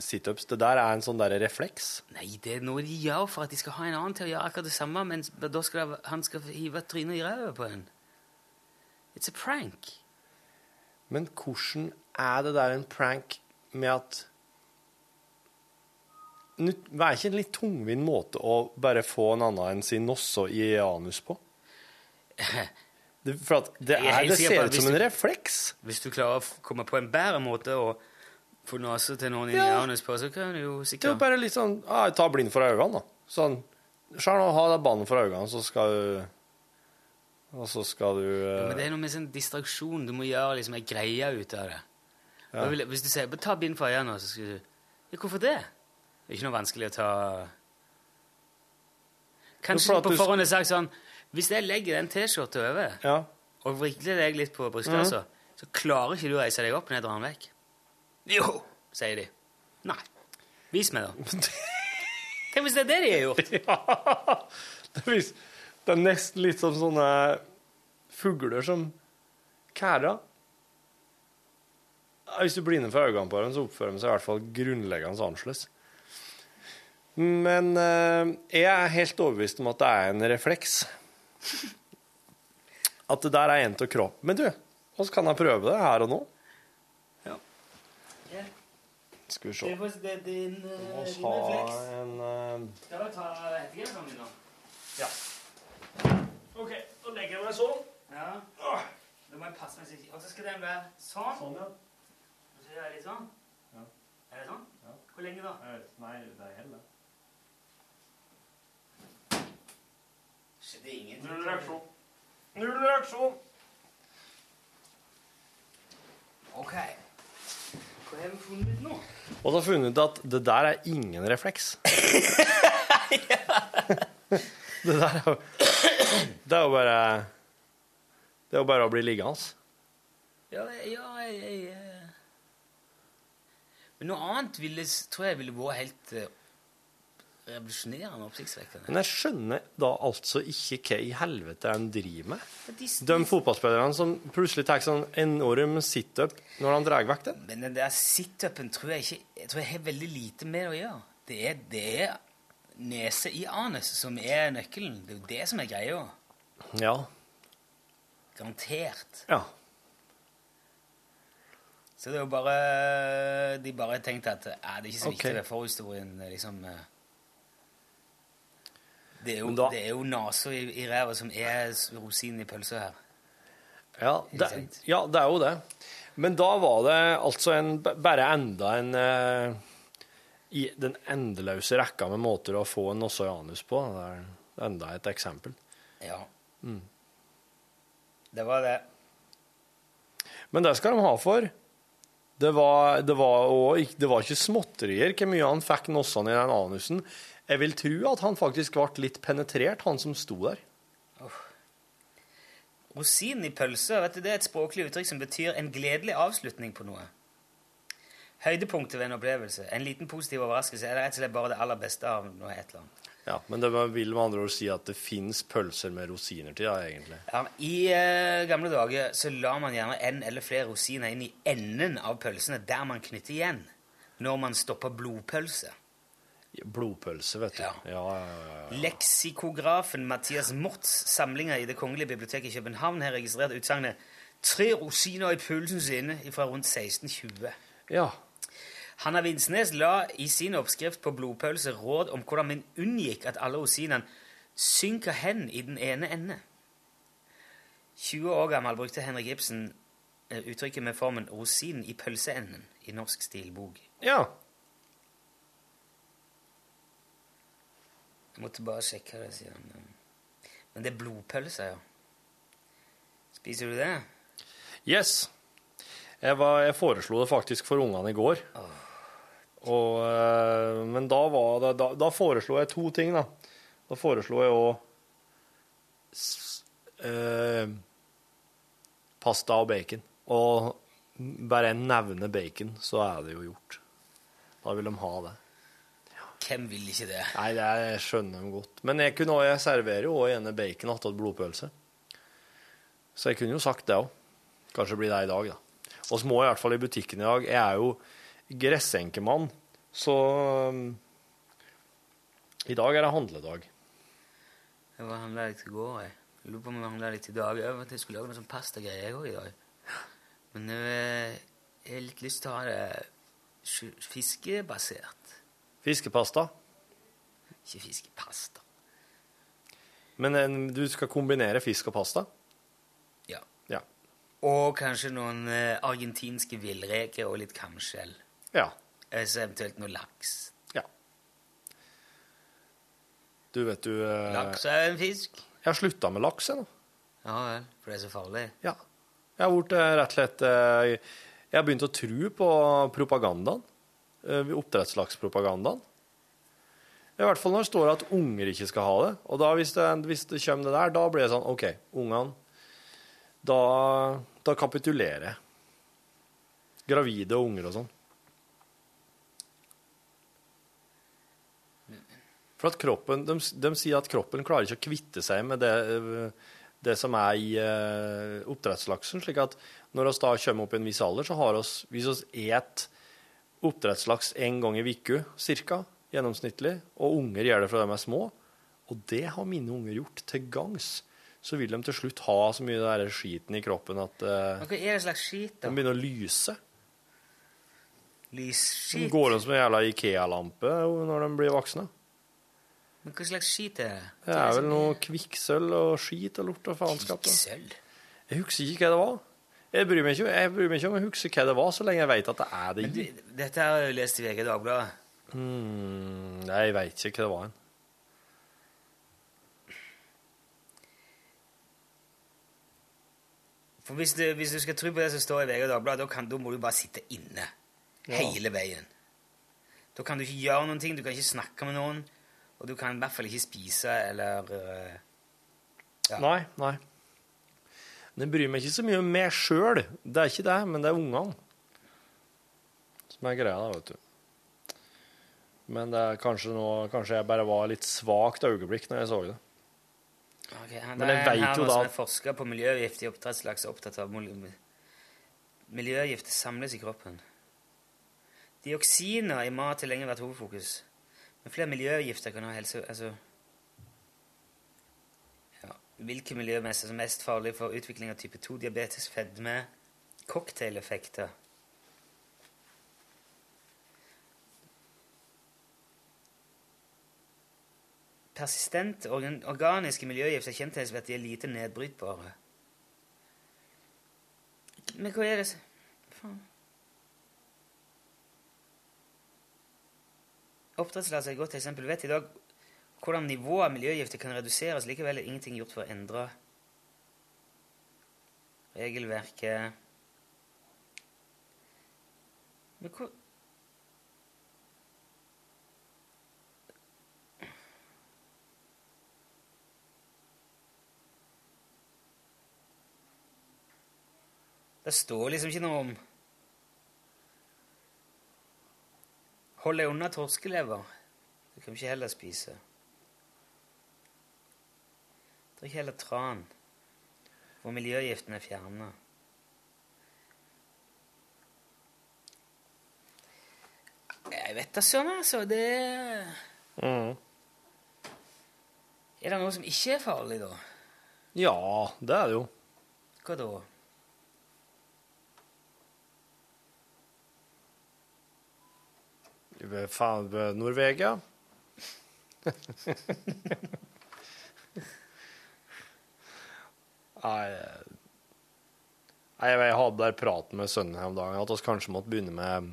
C: situps. Det der er en sånn der refleks.
B: Nei, det er noe de gjør for at de skal ha en annen til å gjøre akkurat det samme, men s- da skal det- han skal hive trynet i ræva på en. It's a prank.
C: Men hvordan er det der en prank med at nytt- Vær ikke en litt tungvint måte å bare få en annen enn sin nosse i
B: *laughs*
C: anus på? Det, for at det,
B: Jeg er
C: er,
B: helt
C: det
B: sikker på
C: ser
B: at
C: ut som
B: hvis
C: en
B: du-
C: refleks.
B: Hvis du klarer å f- komme på en bedre måte å få nase til noen inn i
C: Ja.
B: anus på, så kan du jo
C: Det er jo
B: sikkert
C: bare litt sånn ah, Ta blind for øynene, da. Sånn Sjøl nå, ha deg banen for øynene, så skal du Og så skal du eh,
B: Men det er noe med sånn distraksjon. Du må gjøre liksom ei greie ut av det. Da Vil, jeg- hvis du sier bare 'ta bind for øynene', nå», så skal du ja, 'Hvorfor det?' Det er ikke noe vanskelig å ta Kanskje
C: for at
B: du på
C: du sk-
B: forhånd har sagt sånn 'Hvis jeg legger den T-skjorta over'
C: Ja.
B: og vrikler deg litt på brystkassa, så klarer ikke du å reise deg opp når jeg drar den vekk. Jo, sier de. Nei. Vis meg, da. Tenk hvis det er det de har
C: *laughs*
B: gjort.
C: Det er vis- det er nesten litt som sånne fugler som kærer. Ja, Hvis du blinder for øynene på dem, så oppfører de seg i hvert fall grunnleggende annerledes. Men eh, jeg er helt overbevist om at det er en refleks. *laughs* At det der er en til kropp. Men du, oss kan jeg prøve det her og nå? Skal vi se.
B: Det er din
C: Vi må ha en eh,
B: Skal du ta hettegenseren din, da?
C: OK, da legger jeg meg sånn.
B: Ja. Da må jeg passe meg Og så skal den være sånn.
C: Sånn, ja.
B: Og så er det litt sånn. Er det sånn? Hvor lenge, da?
C: Nei, det er heller.
B: Skjedde ingenting.
C: Null reaksjon. Null reaksjon.
B: OK. Hva har vi funnet ut nå?
C: Og da har jeg funnet ut at det der er ingen refleks. det der er jo Det er jo bare Det er jo bare å bli liggende.
B: Ja, ja jeg, jeg, eh. Men noe annet ville, s- tror jeg ville vært helt eh, revolusjonerende og oppsiktsvekkende.
C: Men jeg skjønner da altså ikke hva i helvete de driver med.
B: Men de-
C: De fotballspillerne som plutselig tar sånn enorm situp når de drar vekk den.
B: Men den der situpen tror jeg ikke Jeg tror jeg har veldig lite med å gjøre. Det er, det er nese i anus som er nøkkelen. Det er jo det som er greia.
C: Ja.
B: Garantert.
C: ja.
B: Så det er jo bare De bare tenkte at eh, det er ikke så
C: Ok.
B: viktig, det er forhistorien, eh, liksom eh. Det er jo,
C: Men da-
B: det er jo nesa i, i ræva som er s- rosinen i pølsa her.
C: Ja det,
B: sant.
C: ja, det er jo det. Men da var det altså en, bare enda en eh, I den endeløse rekka med måter å få en også i anus på. Det er enda et eksempel.
B: Ja.
C: Mm.
B: Det var det.
C: Men det skal de ha for. Det var, det var, og, ikk- det var ikke småtterier hvor mye han fikk nossene i den anusen. Jeg vil tro at han faktisk ble litt penetrert, han som sto der.
B: Rosinen i pølsa vet du, det er et språklig uttrykk som betyr en gledelig avslutning på noe. Høydepunktet ved en opplevelse, en liten positiv overraskelse, eller rett og slett bare det aller beste av noe et eller annet.
C: Ja, Men det vil med andre ord si at det fins pølser med rosiner til, ja, egentlig.
B: Ja, I eh, gamle dager så la man gjerne en eller flere rosiner inn i enden av pølsene, der man knytter igjen, når man stopper blodpølse.
C: Blodpølse, vet du.
B: Ja.
C: ja, ja, ja.
B: Leksikografen Mathias Morts samlinger i Det kongelige biblioteket i København har registrert utsagnet 'Tre rosiner i pølsen sine' fra rundt 1620.
C: ja.
B: Hanna Vinsnes la i sin oppskrift på blodpølse råd om hvordan man unngikk at alle rosinene synker hen i den ene ende. 20 år gammel brukte Henrik Ibsen eh, uttrykket med formen 'rosinen i pølseenden' i norsk stilbok.
C: ja.
B: Jeg måtte bare sjekke det, sier han. Men det er blodpølse, ja. Spiser du det?
C: Yes. Jeg, var, jeg foreslo det faktisk for ungene i går. Og, eh, men da, var det, da, da foreslo jeg to ting, da. Da foreslo jeg òg eh, pasta og bacon. Og bare jeg nevner bacon, så er det jo gjort. Da vil de ha det.
B: Hvem vil ikke det?
C: Nei, det er, jeg skjønner dem godt. Men jeg, kunne, også- jeg serverer jo òg gjerne bacon attåt blodpølse. Så jeg kunne jo sagt det òg. Kanskje blir det i dag, da. Og så må jeg i hvert fall i butikken i dag. Jeg er jo gressenkemann, så um, I dag er det handledag.
B: Jeg var handla litt i går. Jeg Jeg lurer på om jeg handla litt i dag. Jeg, vet, jeg skulle lage noe sånn pastagreier jeg òg i dag. Men eh, jeg har litt lyst til å ha det sj- fiskebasert.
C: Fiskepasta.
B: Ikke fiskepasta.
C: Men en, du skal kombinere fisk og pasta?
B: Ja.
C: Ja.
B: Og kanskje noen eh, argentinske villreker og litt kamskjell.
C: ja.
B: Eh, Så eventuelt noe laks.
C: Ja. Du vet du eh,
B: Laks er en fisk.
C: Jeg har slutta med laks, jeg nå.
B: Ja vel, for det er så farlig.
C: Ja. Jeg har vært eh, rett og slett eh, Jeg har begynt å tro på propagandaen. eh, Oppdrettslakspropagandaen. I hvert fall når det står at unger ikke skal ha det. Og da, hvis det, hvis det kommer det der, da blir det sånn OK, ungene Da, da kapitulerer jeg. Gravide og unger og sånn. For at kroppen, de, de sier at kroppen klarer ikke å kvitte seg med det, eh, det som er i eh, oppdrettslaksen, slik at når vi da kommer opp i en viss alder, så har oss, hvis oss et oppdrettslaks en gang i viku, cirka, gjennomsnittlig, og unger gjør det fra de er små, og det har mine unger gjort til gangs, så vil de til slutt ha så mye av den der skiten i kroppen at eh,
B: Men hva er det slags skit,
C: de
B: da?
C: begynner å lyse. De
B: Lysskit?
C: går rundt som en jævla Ikea-lampe når de blir voksne.
B: Men hva slags skit er sånn det?
C: Det er vel noe kvikksølv og skit og lort og faenskap. da.
B: Kvikksølv?
C: Jeg husker ikke hva det var. Jeg bryr meg ikke, jeg bryr meg ikke om jeg husker hva det var, så lenge jeg vet at det er det
B: Men
C: i.
B: du, Dette har jeg jo lest i VG Dagbladet.
C: Mm, nei, jeg vet ikke hva det var. en.
B: For hvis du, hvis du skal tro på det som står i VG Dagbladet, da, kan, da må du bare sitte inne hele veien. Da kan du ikke gjøre noen ting, du kan ikke snakke med noen, og du kan i hvert fall ikke spise eller eh, Ja.
C: Nei, nei. Men jeg bryr meg ikke så mye om meg sjøl. Det er ikke det, men det er ungene. Som er greia, da, vet du. Men det er kanskje noe Kanskje jeg bare var litt svakt øyeblikk når jeg så det.
B: ok, han-
C: Men jeg
B: det er en
C: vet
B: her
C: jo
B: nå
C: da-
B: som er forsker på miljøgift i oppdrettslaks og opptatt av mol- Miljøgift samles i kroppen. Dioksiner i mat har lenge vært hovedfokus. Men flere miljøgifter kan ha helse... Altså ja. Hvilke miljømesser som er mest farlige for utvikling av type 2 diabetes, fedme, cocktaileffekter? Persistent organ organiske miljøgifter er kjent til at de er lite nedbrytbare. Men hva er det s- Faen. Oppdrettslaks er et godt eksempel. Du vet i dag hvordan nivået av miljøgifter kan reduseres. Likevel er ingenting gjort for å endre regelverket. Men hvor Det står liksom ikke noe om Hold deg unna torskelever. Du kan ikke heller spise. Drikk heller tran, hvor miljøgiftene er fjerna. Jeg vet da søren, altså. Det Mm. Er det noe som ikke er farlig, da?
C: Ja, det er det jo.
B: Hva da?
C: Faen, Norvegia. *laughs* Nei eh, Nei, Jeg hadde der praten med sønnen her om dagen at vi kanskje måtte begynne med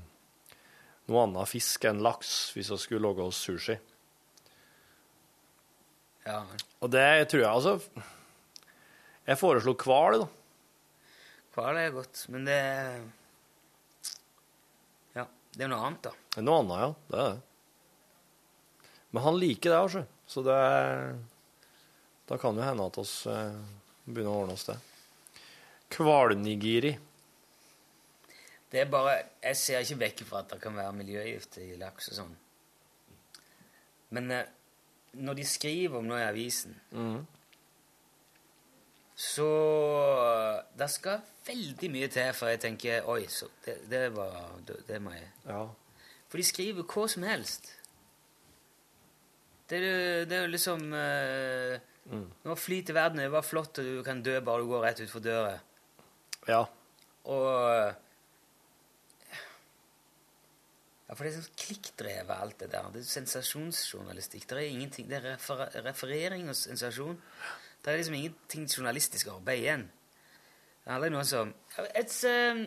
C: noe annet fisk enn laks hvis vi skulle lage oss sushi.
B: Ja,
C: Og det tror jeg altså Jeg foreslo hval, da.
B: Hval er godt, men det Ja, det er noe annet, da.
C: Det er Noe annet, ja. Det er det. Men han liker det, altså. Så det er- Da kan det jo hende at oss eh, begynner å ordne oss det. Kvalnigiri.
B: Det er bare, Jeg ser ikke vekk fra at det kan være miljøgift i laks og sånn. Men eh, når de skriver om noe i avisen
C: Mm.
B: Så eh, Det skal veldig mye til før jeg tenker Oi, så det, det var det, det må jeg
C: Ja.
B: For de skriver hva som helst. Det er jo, det er jo liksom eh, Nå flyter verden over, flott, og du kan dø bare du går rett utfor døra.
C: ja.
B: Og eh, Ja, Ja, for det er sånn klikkdrevet, alt det der. Det er sensasjonsjournalistikk. Det er ingenting, det er refer referering og sensasjon. Det er liksom ingenting journalistisk arbeid igjen. Det handler om noe som Ja, Et eh,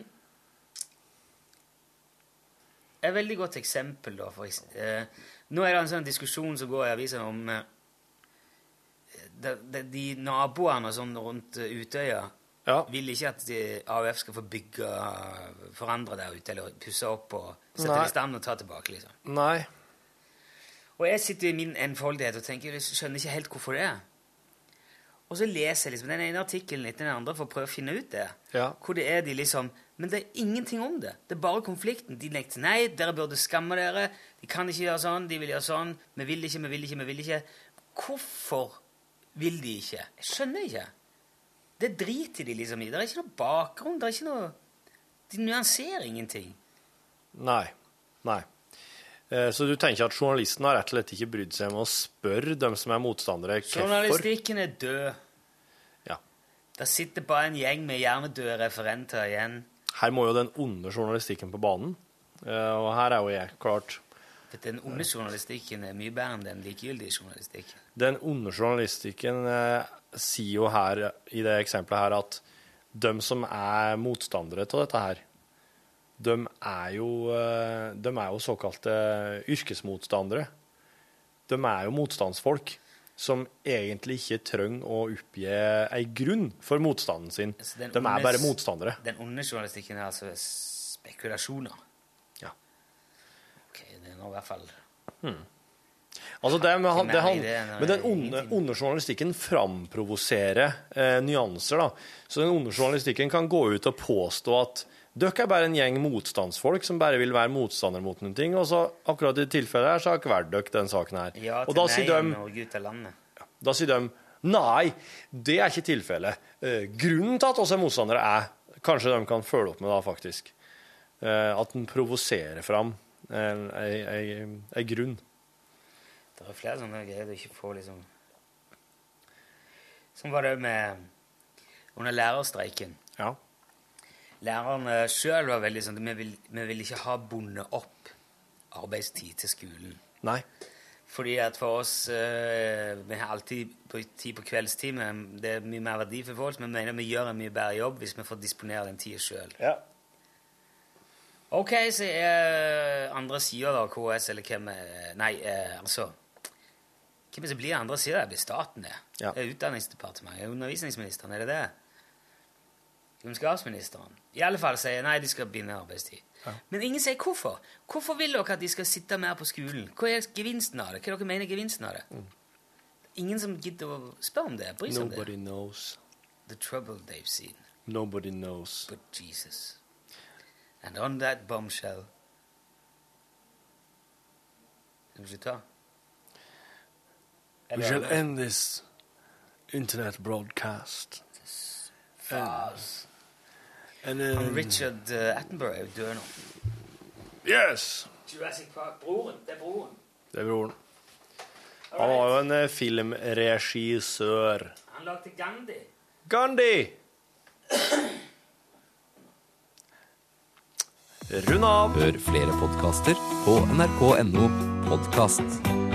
B: Et veldig godt eksempel, da. For, eks- eh, nå er det en sånn diskusjon som går i avisen om eh, de, de, de naboene og sånn rundt eh, Utøya vil ikke at eh, AUF skal få bygge eh, forandre der ute, eller pusse opp og sette
C: Nei.
B: det i stand og ta tilbake, liksom.
C: Nei.
B: Og jeg sitter i min enfoldighet og tenker, jeg skjønner ikke helt hvorfor det er. Og så leser jeg liksom den ene artikkelen etter den andre for å prøve å finne ut det.
C: Ja.
B: Hvor det er de liksom, men det er ingenting om det. Det er bare konflikten. De nekter nei, dere burde skamme dere. De kan ikke gjøre sånn, de vil gjøre sånn. Vi vil ikke, vi vil ikke, vi vil ikke. Hvorfor vil de ikke? Jeg skjønner ikke. Det driter de liksom i. Det er ikke noe bakgrunn, det er ikke noe... De nuanserer ingenting.
C: Nei. Nei. Eh, Så du tenker at journalisten har rett og slett ikke brydd seg med å spørre dem som er motstandere, hvorfor?
B: Journalistikken er død.
C: Ja.
B: Der sitter bare en gjeng med hjernedøde referenter igjen.
C: Her må jo den onde journalistikken på banen. Eh, Og her er jo jeg, klart.
B: For den onde journalistikken er mye bedre enn den likegyldige journalistikken.
C: Den onde journalistikken eh, sier jo her, i det eksempelet her, at de som er motstandere av dette her, de er jo, eh, de er jo såkalte yrkesmotstandere. De er jo motstandsfolk som egentlig ikke trenger å oppgi ei grunn for motstanden
B: Så
C: sin. De
B: Altså, den
C: er
B: ondes-
C: bare motstandere.
B: Den onde journalistikken er altså spekulasjoner.
C: Ja.
B: Ok, det er nå i hvert fall
C: Hmm. Altså det, med, han-
B: Ikke
C: det han,
B: mer i det, nei,
C: men den onde, onde journalistikken framprovoserer eh, nyanser, da. Så den onde journalistikken kan gå ut og påstå at dere er bare en gjeng motstandsfolk som bare vil være motstander mot noen ting, og så akkurat i dette tilfellet her, så har ikke vært dere den saken her.
B: ja til
C: og da
B: nei
C: sier,
B: og
C: de,
B: Norge ut av landet.
C: da sier de nei, det er ikke tilfellet. Eh, grunnen til at oss er motstandere er Kanskje de kan følge opp med da, faktisk. Eh, at en provoserer fram en, ei, ei, ei grunn.
B: Det er flere sånne greier du ikke får liksom Sånn var det med under lærerstreiken.
C: Ja.
B: Lærerne sjøl var veldig sånn Vi vil, vi vil ikke ha bundet opp arbeidstid til skolen.
C: Nei.
B: Fordi at for oss eh, Vi har alltid på- tid på kveldstid, men det er mye mer verdi for folk. Vi mener vi gjør en mye bedre jobb hvis vi får disponere den tida sjøl. OK, så er andre sida, da, KS eller hvem er- Nei, eh, altså Hvem er det som blir andre sida? Det blir staten, det.
C: Ja.
B: Det er Utdanningsdepartementet. Undervisningsministeren, er det det? Kunnskapsministeren. I alle fall sier nei, de skal binde arbeidstid. Men ingen sier hvorfor. Hvorfor vil dere at de skal sitte mer på skolen? Hva er gevinsten av det? Hva er dere mener er gevinsten av det?
C: Mm.
B: Ingen som gidder å spørre om det, bry seg om det.
C: Nobody knows.
B: The trouble they've seen.
C: Nobody knows.
B: But Jesus. And on that bombshell Skal vi ta?
J: We
B: Eller-
J: shall end this internet broadcast.
B: Fars.
J: And then-
B: Han Richard eh, Attenborough er jo død nå.
J: Yes!
B: Jurassic Park. Broren. Det er broren.
C: Det er broren. Han var jo en eh, filmregissør.
B: Han lagde Gandhi.
C: Gandhi! Rund av.
K: Hør flere podkaster på nrk.no podkast.